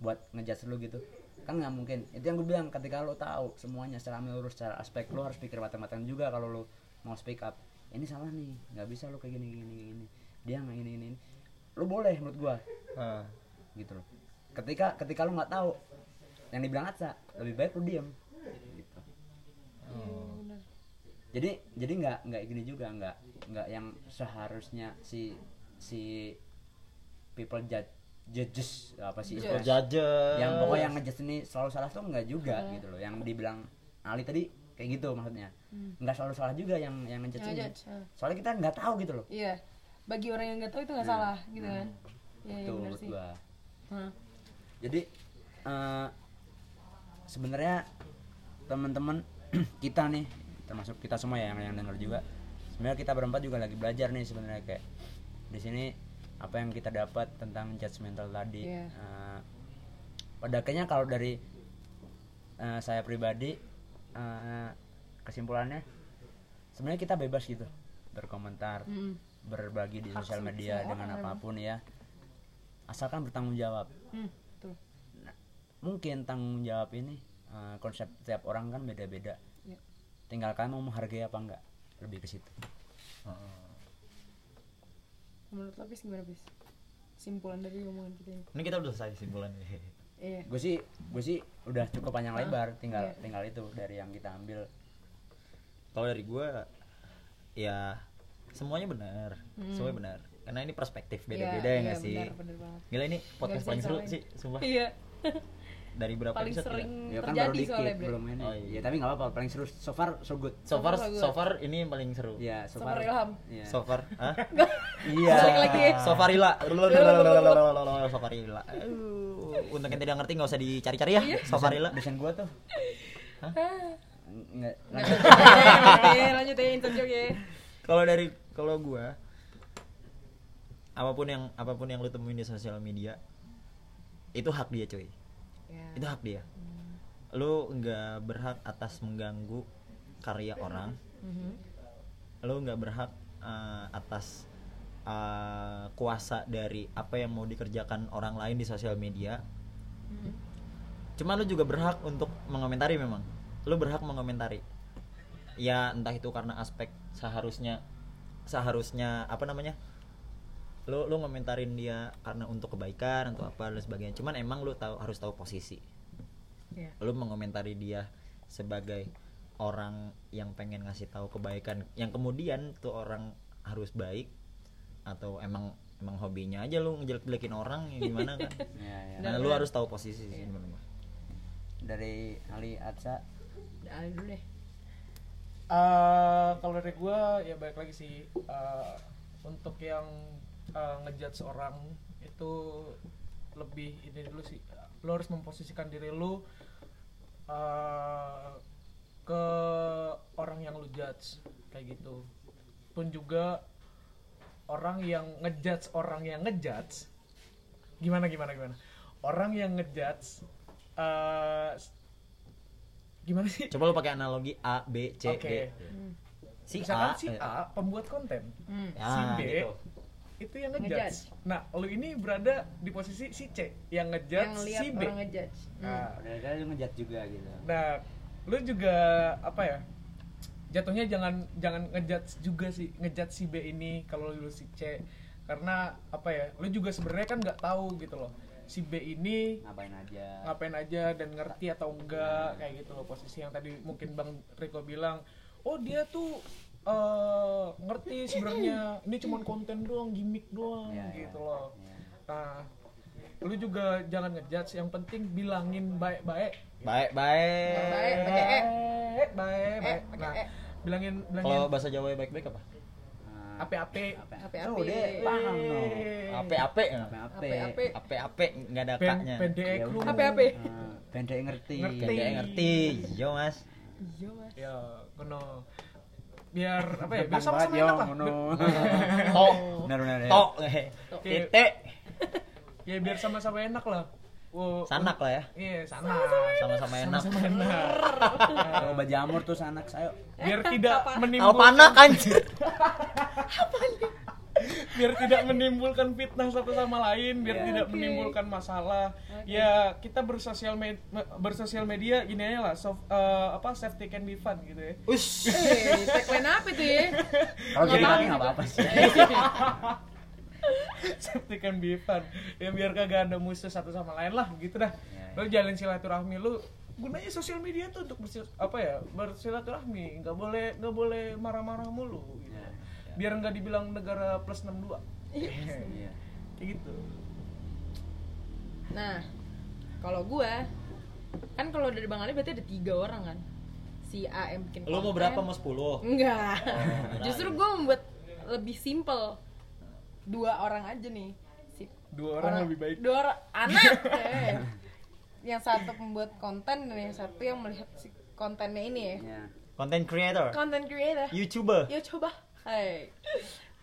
A: buat ngejudge lu gitu kan nggak mungkin itu yang gue bilang ketika lo tahu semuanya secara menurut secara aspek lo harus pikir matang-matang juga kalau lo mau speak up ini salah nih nggak bisa lo kayak gini gini gini dia nggak gini gini lo boleh menurut gue
B: Ah.
A: gitu loh ketika ketika lu nggak tahu yang dibilang Atsa lebih baik lu diem gitu
B: Oh,
A: jadi jadi nggak nggak gini juga nggak nggak yang seharusnya si si people judge judges apa sih
C: Judge.
A: istilahnya?
B: Judges.
A: yang pokoknya yang ngejudge ini selalu salah tuh nggak juga
C: Iya.
A: gitu loh yang dibilang Ali tadi kayak gitu maksudnya nggak selalu salah juga yang yang ngejudge
C: Hmm. Yang
A: ini
C: ngejudge, ah.
A: soalnya kita nggak tahu gitu loh
C: Iya. Bagi orang yang nggak tahu itu nggak
A: Nah,
C: salah gitu
A: nah.
C: kan.
B: Hmm.
C: Iya, iya
A: Tuh,
C: benar
A: menurut
C: sih. Ah.
A: gua.
C: Hah.
A: jadi eh, sebenarnya teman-teman kita nih termasuk kita semua ya yang yang dengar juga sebenarnya kita berempat juga lagi belajar nih sebenarnya kayak di sini apa yang kita dapat tentang judgmental tadi
C: Iya.
A: Eh, pada akhirnya kalau dari eh, saya pribadi eh, kesimpulannya sebenarnya kita bebas gitu berkomentar
C: Mm-mm.
A: berbagi di
C: Hmm. Hak
A: sosial
C: semua
A: media
C: orang
A: dengan
C: emang.
A: apapun ya asalkan bertanggung jawab
C: Hmm, betul.
A: Nah, mungkin tanggung jawab ini eh, konsep tiap orang kan beda-beda
C: Iya.
A: tinggal kamu mau menghargai apa enggak lebih ke situ
C: Menurut lo Pis, gimana Pis? Simpulan dari omongan kita ini.
B: Ini kita udah selesai simpulan nih.
C: Iya.
A: gue sih gue sih udah cukup panjang lebar tinggal
C: iya.
A: tinggal itu dari yang kita ambil
B: Kalau dari gua ya semuanya benar. Semuanya benar. Karena ini perspektif beda-beda
C: Hmm. Iya,
B: ya
C: iya,
B: nggak sih?
C: Benar, benar banget.
B: Gila ini podcast
C: Nggak
B: paling
C: bisa
B: seru
C: disalahin.
B: sih, sumpah.
C: Iya.
B: Dari berapa
C: Paling
B: episode?
C: sering
B: gila?
A: ya kan baru
C: Hmm, terjadi
A: dikit
C: soalnya Bre.
A: belum ini
B: Oh, iya.
A: ya tapi nggak apa-apa paling seru so far so good
B: So far,
C: Sama gua.
B: so far ini yang paling seru.
A: ya so
C: So
A: far
C: far Ilham.
A: Iya.
B: So far, ah?
A: iya
C: Balik lagi ya.
B: Sofarila. Lalalalalalala, Sofarila. Aduh, Untuk yang tidak ngerti nggak usah dicari-cari ya.
C: Iya.
B: Sofarila.
A: desain gua tuh nggak
C: Lanjut ya, lanjut ya, intern joke ya.
B: Kalau dari kalau gua apapun yang apapun yang lu temuin di sosial media itu hak dia, cuy.
C: Ya.
B: Itu hak dia. Lu nggak berhak atas mengganggu karya orang.
C: Mhm.
B: Lu nggak berhak eh, atas eh, kuasa dari apa yang mau dikerjakan orang lain di sosial media.
C: Mhm.
B: Cuman lu juga berhak untuk mengomentari memang. Lu berhak mengomentari. Ya entah itu karena aspek seharusnya seharusnya apa namanya? Lu lu ngomentarin dia karena untuk kebaikan atau apa dan sebagainya. Cuman emang lu tahu harus tahu posisi.
C: Iya.
B: Lu mengomentari dia sebagai orang yang pengen ngasih tahu kebaikan yang kemudian tuh orang harus baik atau emang emang hobinya aja lu ngejelek-jelekin orang ya gimana kan
A: Ya, ya.
B: nah lu harus tahu posisi sih menurut gua.
A: Dari Ali Atsa
E: Udah, Ali dulu deh
D: Eh, kalau dari gue ya balik lagi sih eh, untuk yang eh, ngejudge orang itu lebih ini dulu sih lo harus memposisikan diri lu eh, ke orang yang lu judge kayak gitu pun juga orang yang ngejudge orang yang ngejudge gimana gimana gimana orang yang ngejudge eh, s- gimana sih
B: coba lu pakai analogi A B C
D: Oke.
B: D si
D: misalkan
B: A,
D: si
B: eh,
D: A pembuat konten
E: hmm.
B: ya,
D: si B
B: gitu.
D: itu yang
C: Ngejudge.
D: ngejudge nah lu ini berada di posisi si C yang
C: yang
D: ngejudge
C: lihat
D: si B
C: orang Hmm. ngejudge
E: Hmm.
D: nah,
A: Dari kali lu ngejat juga gitu.
D: nah lu juga apa ya jatuhnya jangan jangan ngejudge juga sih ngejudge si B ini kalau lu si C karena apa ya lu juga sebenarnya kan nggak tahu gitu loh si B ini
A: Ngapain aja?
D: ngapain aja dan ngerti atau enggak kayak gitu loh posisi yang tadi mungkin bang Riko bilang oh dia tuh eh, ngerti sebenarnya ini cuman konten doang gimmick doang
A: Ya, ya.
D: gitu loh
A: Ya.
D: nah lu juga jangan ngejudge yang penting bilangin baik-baik
B: baik baik
C: Baik, pakai E.
D: baik baik baik
C: pakai
D: nah
C: E.
D: bilangin bilangin
B: kalau bahasa Jawa baik baik apa
A: Eh,
D: ape-ape Eh.
A: apa?
C: Ape-ape.
A: Oh, dia paham no.
B: Ape ape
A: Apa-apa.
C: Ape-ape.
B: ape ape nggak ada
D: pen
B: kaknya
A: Ya
D: pendek lu
C: Ape-ape.
A: Eh, Pendek ngerti.
D: Ngerti.
B: Nggak ngerti yo mas
C: iya mas
D: ya kena biar apa ya biar
A: Gampang
D: sama-sama
A: banget, yo,
D: enak lah
A: ngono.
B: tok
A: Benar benar. ya.
B: tok
D: Oke.
B: titik
D: ya biar sama-sama enak lah Wo-
B: sanak lah ya
D: Iya, sana.
B: sama-sama enak
D: Sama-sama enak.
A: Coba jamur terus anak saya.
D: Biar tidak
B: apa
D: menimbulkan
B: anak anjir
D: biar tidak menimbulkan fitnah satu sama lain, biar
A: Iya.
D: tidak menimbulkan masalah. Ya, kita bersosial med- me- bersosial media gini aja lah, sof- eh, apa safety can be fun gitu ya.
B: us
E: Eh, tagline apa itu ya?
A: Kalau
E: Nggak
A: jadi
E: paham
A: kami nggak apa-apa sih.
D: safety can be fun. Ya biar kagak ada musuh satu sama lain lah gitu dah.
A: Iya,
D: Lo jalin silaturahmi lu gunanya sosial media tuh untuk bersil apa ya bersilaturahmi nggak boleh nggak boleh marah-marah mulu gitu.
A: Iya,
D: biar nggak dibilang negara plus 62
A: Iya.
D: kayak gitu
E: Nah, kalau gua kan kalau dari Bang Ali berarti ada tiga orang kan. Si A yang bikin
B: lu mau
E: konten.
B: berapa mau 10
E: Enggak.
D: Oh,
E: Justru gua membuat lebih simple.
C: dua orang aja nih si
D: dua orang, lebih baik
C: dua orang anak eh. yang satu membuat konten dan yang satu yang melihat si kontennya ini ya
A: Iya.
B: content
D: Iya.
B: creator
C: content creator
B: youtuber
C: ya coba hai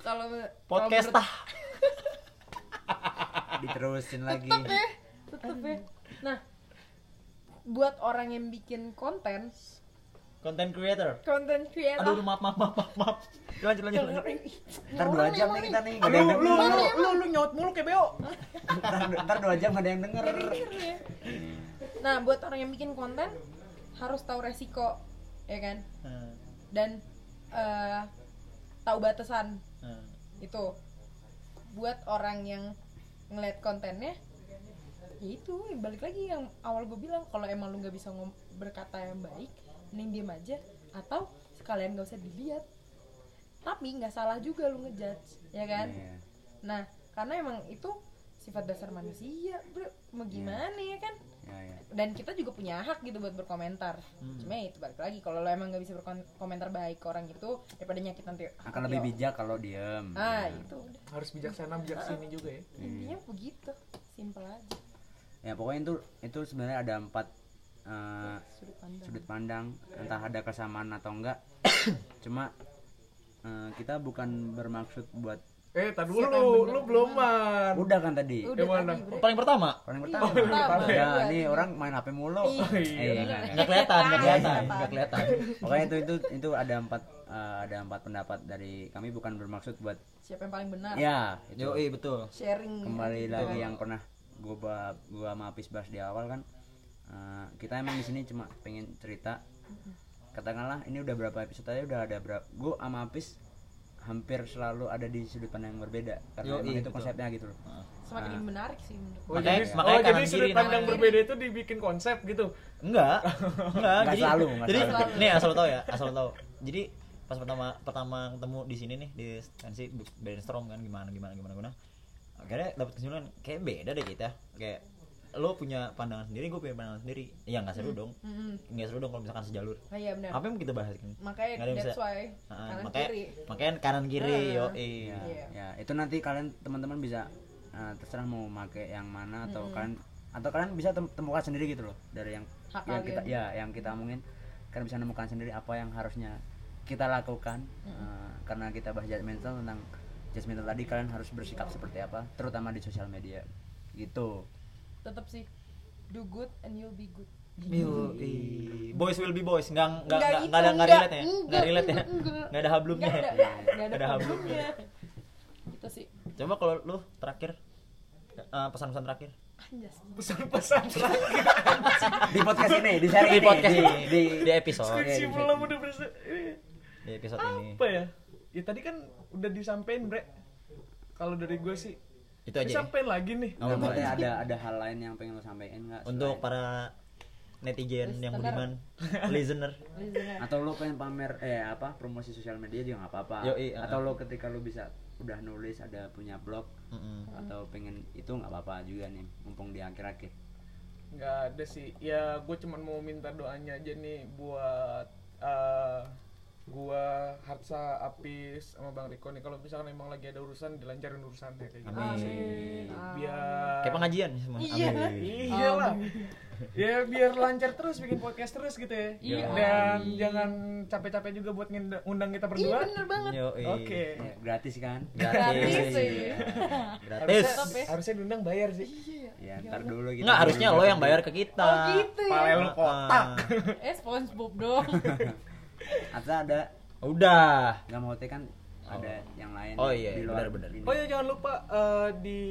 C: kalau kalau
B: podcast
C: menurut-
B: tah
A: Diterusin lagi.
C: tetep ya tetep ya nah buat orang yang bikin konten
B: content creator
C: konten creator
B: aduh maaf maaf maaf maaf, maaf. lanjut lanjut lanjut
A: Ntar dua jam nih kita nih. nggak ada
D: lu
A: yang
D: lu
A: denger.
D: lu lu, lu nyaut mulu kayak beo
A: Ntar, ntar dua jam nggak ada yang denger.
C: ya. nah buat orang yang bikin konten harus tahu resiko ya kan
B: Hmm,
C: dan eh, tahu batasan
B: hmm.
C: itu buat orang yang ngeliat kontennya ya itu balik lagi yang awal gue bilang kalau emang lu nggak bisa ngom- berkata yang baik mending diem aja atau sekalian gak usah dilihat tapi nggak salah juga lu ngejudge ya kan
A: Iya.
C: nah karena emang itu sifat dasar manusia bro mau gimana ya kan
A: Iya, iya.
C: dan kita juga punya hak gitu buat berkomentar
B: Hmm.
C: cuma ya itu balik lagi kalau lo emang nggak bisa berkomentar baik ke orang gitu daripada nyakit nanti
A: Akan lebih
C: Iya.
A: bijak kalau diem.
B: Iya.
C: ah itu udah
D: harus bijaksana
A: Iya.
D: bijaksini juga ya
C: intinya begitu simple aja
A: Ya pokoknya itu itu sebenarnya ada empat eh,
C: sudut pandang
A: sudut pandang entah ada kesamaan atau enggak. Cuma eh, kita bukan bermaksud buat
D: eh tadi dulu lu, lu belum man
A: udah kan
B: Iya.
A: tadi.
C: udah
D: mana?
C: tadi bre
B: paling pertama
A: Orang pertama.
C: pertama.
A: ya,
C: Iya,
A: nih
C: iya.
A: orang main HP mulu.
C: Iya.
A: Eh, enggak, enggak.
B: nggak kelihatan nggak kelihatan
C: Iya,
B: nggak kelihatan
A: Pokoknya itu itu itu ada empat eh, ada empat pendapat dari kami bukan bermaksud buat
C: siapa yang paling benar
B: Iya.
A: ya itu
B: yoi Oh, betul
C: sharing
A: kembali lagi yang pernah gua ba- gua sama Apis bahas di awal kan eh, kita emang di sini cuma pengen cerita katakanlah ini udah berapa episode aja udah ada berapa gua sama Apis hampir selalu ada di sudut pandang yang berbeda karena
B: Yoi,
A: emang itu
B: betul. Ah.
A: konsepnya gitu loh
C: semakin menarik sih menurut
D: Oh,
B: Makanya-
D: jadi,
B: makanya
D: oh, jadi
B: kanan
D: sudut
B: kiri
D: pandang
C: namanya.
D: berbeda itu dibikin konsep gitu.
B: enggak enggak
A: Nggak
B: jadi
A: selalu, nggak
B: jadi
A: selalu.
B: nih asal lo tau ya asal lo tau jadi pas pertama pertama ketemu di sini nih di tensi brainstorm kan gimana gimana gimana gimana akhirnya dapat kesimpulan kayak beda deh kita kayak lo punya pandangan sendiri gue punya pandangan sendiri ya nggak
C: Hmm.
B: seru dong
C: Mm-mm.
B: nggak seru dong kalau misalkan sejalur
C: Ah, iya benar.
B: apa yang kita bahas kan
C: Makanya
B: Nggak ada yang
C: that's
B: bisa-
C: why
B: Ah,
C: kanan
B: makanya,
C: kiri.
B: makanya kanan kiri
C: Ah.
B: yo
A: ya,
C: Iya.
A: ya itu nanti kalian teman-teman bisa eh, terserah mau pakai yang mana atau kalian atau kalian bisa tem- temukan sendiri gitu loh dari yang
C: Hak
A: yang
C: kalian.
A: kita ya yang kita omongin kalian bisa nemukan sendiri apa yang harusnya kita lakukan Eh, karena kita bahas judgmental tentang judgmental tadi kalian harus bersikap seperti apa terutama di sosial media gitu
C: Tetap sih do good and you'll be good.
B: boys will be boys nggak nggak
C: Nggak
B: nggak
C: gitu,
B: nggak ada nggak
C: nggak,
B: relate ya nggak
C: nggak,
B: relate ya
C: nggak, nggak.
B: nggak ada hablumnya
C: Nggak
B: ya
C: ada, nggak
B: Nggak ada
C: ada
B: hablum.
C: problemnya. Gitu sih.
B: coba kalau lu terakhir eh, pesan-pesan terakhir
C: Anjas.
D: Pesan-pesan terakhir.
A: di podcast ini di seri
B: di
A: ini,
B: podcast ini di,
A: di-
B: di episode
D: Skripsi
A: iya.
D: belum udah berasa. eh,
B: di episode ini
D: Apa ya? Ya tadi kan udah disampein, Bre. Kalau dari gue sih
B: itu aja ya.
D: disampein lagi nih.
A: Nah,
B: Oh,
A: maksudnya
B: boleh.
A: ada ada hal lain yang pengen lo sampaikan nggak
B: untuk
A: selain-
B: para netizen yang
C: Listener.
B: budiman listener
C: Listener.
A: atau lo pengen pamer eh apa promosi sosial media juga nggak apa-apa
B: Yoi, ah.
A: atau lo ketika lo bisa udah nulis ada punya blog
B: Mm-mm.
A: atau pengen itu nggak apa-apa juga nih mumpung di akhir-akhir
D: Nggak ada sih. Ya gue cuman mau minta doanya aja nih buat eh, gua Harsa Apis sama Bang Riko nih kalau misalkan emang lagi ada urusan dilancarin urusannya kayak gitu.
B: amin
D: Biar
B: kayak pengajian semua
C: Iya.
B: amin
D: Iya lah. Ya biar lancar terus bikin podcast terus gitu ya.
C: Iya.
D: Dan jangan capek-capek juga buat ngund- ngundang kita
C: Iya
D: berdua.
C: bener banget.
B: Yoi.
D: Oke.
B: Iya.
A: Ya, gratis kan
C: Gratis iya. sih.
B: gratis
D: Harusnya, ya. harusnya diundang bayar sih.
A: ya ntar dulu gitu
B: nggak harusnya lo yang bayar ke kita
C: Oh gitu
D: Pale
C: ya.
D: lu kotak.
C: Eh SpongeBob dong.
A: atau ada
B: Ah, udah
A: nggak mau teh kan ada yang lain
B: Oh, iya,
A: di
B: iya,
A: luar
B: benar-benar.
A: ini.
D: Oh ya jangan lupa eh, di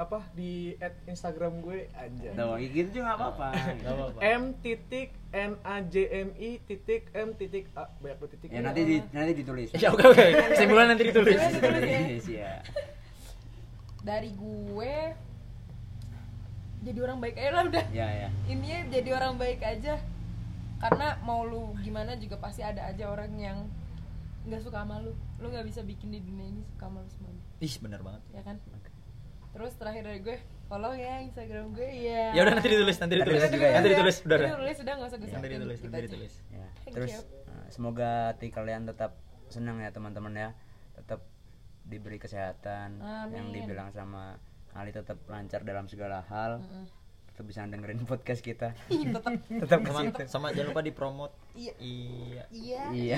D: apa di at Instagram gue aja.
A: Tuh, gitu juga nggak apa-apa
B: Nggak apa-apa.
C: Eh,
D: M titik N A J M I titik M titik A banyak tuh titik.
A: ya nanti di- nanti ditulis
B: ya oke oke kesimpulan nanti ditulis
A: ditulis ya
C: Dari gue jadi orang baik aja lah udah.
A: ya ya
C: Intinya jadi orang baik aja. Karena mau lu gimana juga pasti ada aja orang yang nggak suka sama lu. Lu nggak bisa bikin di dunia ini suka sama lu semuanya.
B: ih bener banget
C: Ya kan? Terus terakhir dari gue, follow ya Instagram gue ya.
B: ya udah nanti ditulis nanti
A: Nanti
B: ditulis
A: ditulis juga ya?
B: nanti ditulis udah udah.
C: Nanti ditulis udah nggak usah gue
B: nanti ditulis nanti ditulis
A: Ya,
C: Thank
A: terus
C: you.
A: uh, semoga hati kalian tetap senang ya teman-teman ya tetap diberi kesehatan yang dibilang sama Ali tetap lancar dalam segala hal
C: Mm.
A: tetap bisa dengerin podcast kita tetap
B: sama
A: kesini.
B: sama jangan lupa dipromot
C: Iya.
B: iya
C: Iya.
A: iya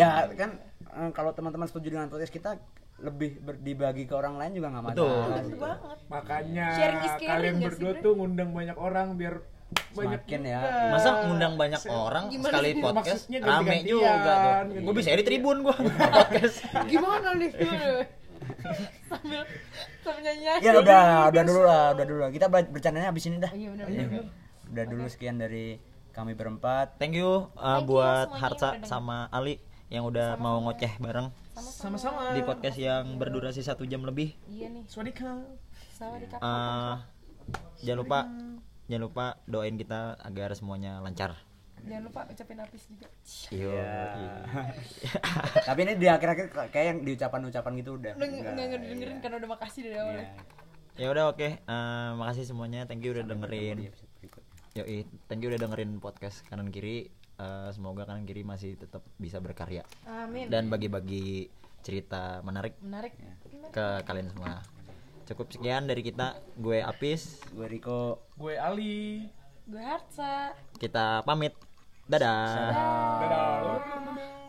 A: ya kan uh, kalau teman-teman setuju dengan podcast kita lebih ber- dibagi ke orang lain juga nggak masalah
C: Bener
A: sih.
C: banget.
D: Makanya
C: Sharing is caring
D: kalian
C: nggak sih,
D: berdua
C: Bre?
D: tuh ngundang banyak orang biar banyak
A: Semakin ya.
D: juga.
B: masa ngundang banyak orang
C: gimana
B: sekali
C: sih?
B: podcast
D: Maksudnya
B: rame
D: ganti-gantian,
B: juga tuh
D: ganti-gantian.
B: gue bisa edit tribun gue podcast
C: Gimana nih? sambil sambil nyanyi.
A: ya udah udah dulu lah udah dulu lah kita ber- bercandanya habis ini dah
C: Iya benar benar.
A: udah dulu sekian dari kami berempat
B: thank you uh,
C: Thank you
B: buat
C: semuanya
B: Harsa
C: yang udah
B: sama Ali yang udah mau ngoceh bareng
D: Sama-sama.
B: di podcast yang berdurasi satu jam lebih
C: Iya nih.
D: Swadika.
C: Sama di
A: Ah.
C: kakak.
B: Uh, jangan lupa jangan lupa doain kita agar semuanya lancar
C: Jangan lupa ucapin apis juga.
A: Iya.
B: Yo,
A: tapi ini di akhir-akhir kayak yang diucapan-ucapan gitu udah
C: Udah nggak
A: Nggak,
C: nggak dengerin karena udah makasih dari awal.
A: iya.
B: ya udah oke Eh, makasih semuanya thank you udah dengerin
A: episode
B: Yoi, thank you udah dengerin podcast kanan kiri. Eh, semoga kanan kiri masih tetap bisa berkarya
C: Amin.
B: dan bagi-bagi cerita menarik
C: Menarik.
A: Iya.
B: ke kalian semua. Cukup sekian dari kita. Gue Apis.
A: Gue Riko.
D: Gue Ali.
C: Gue Harsa.
B: Kita pamit. Dadah.
D: Dadah.
C: Dadah.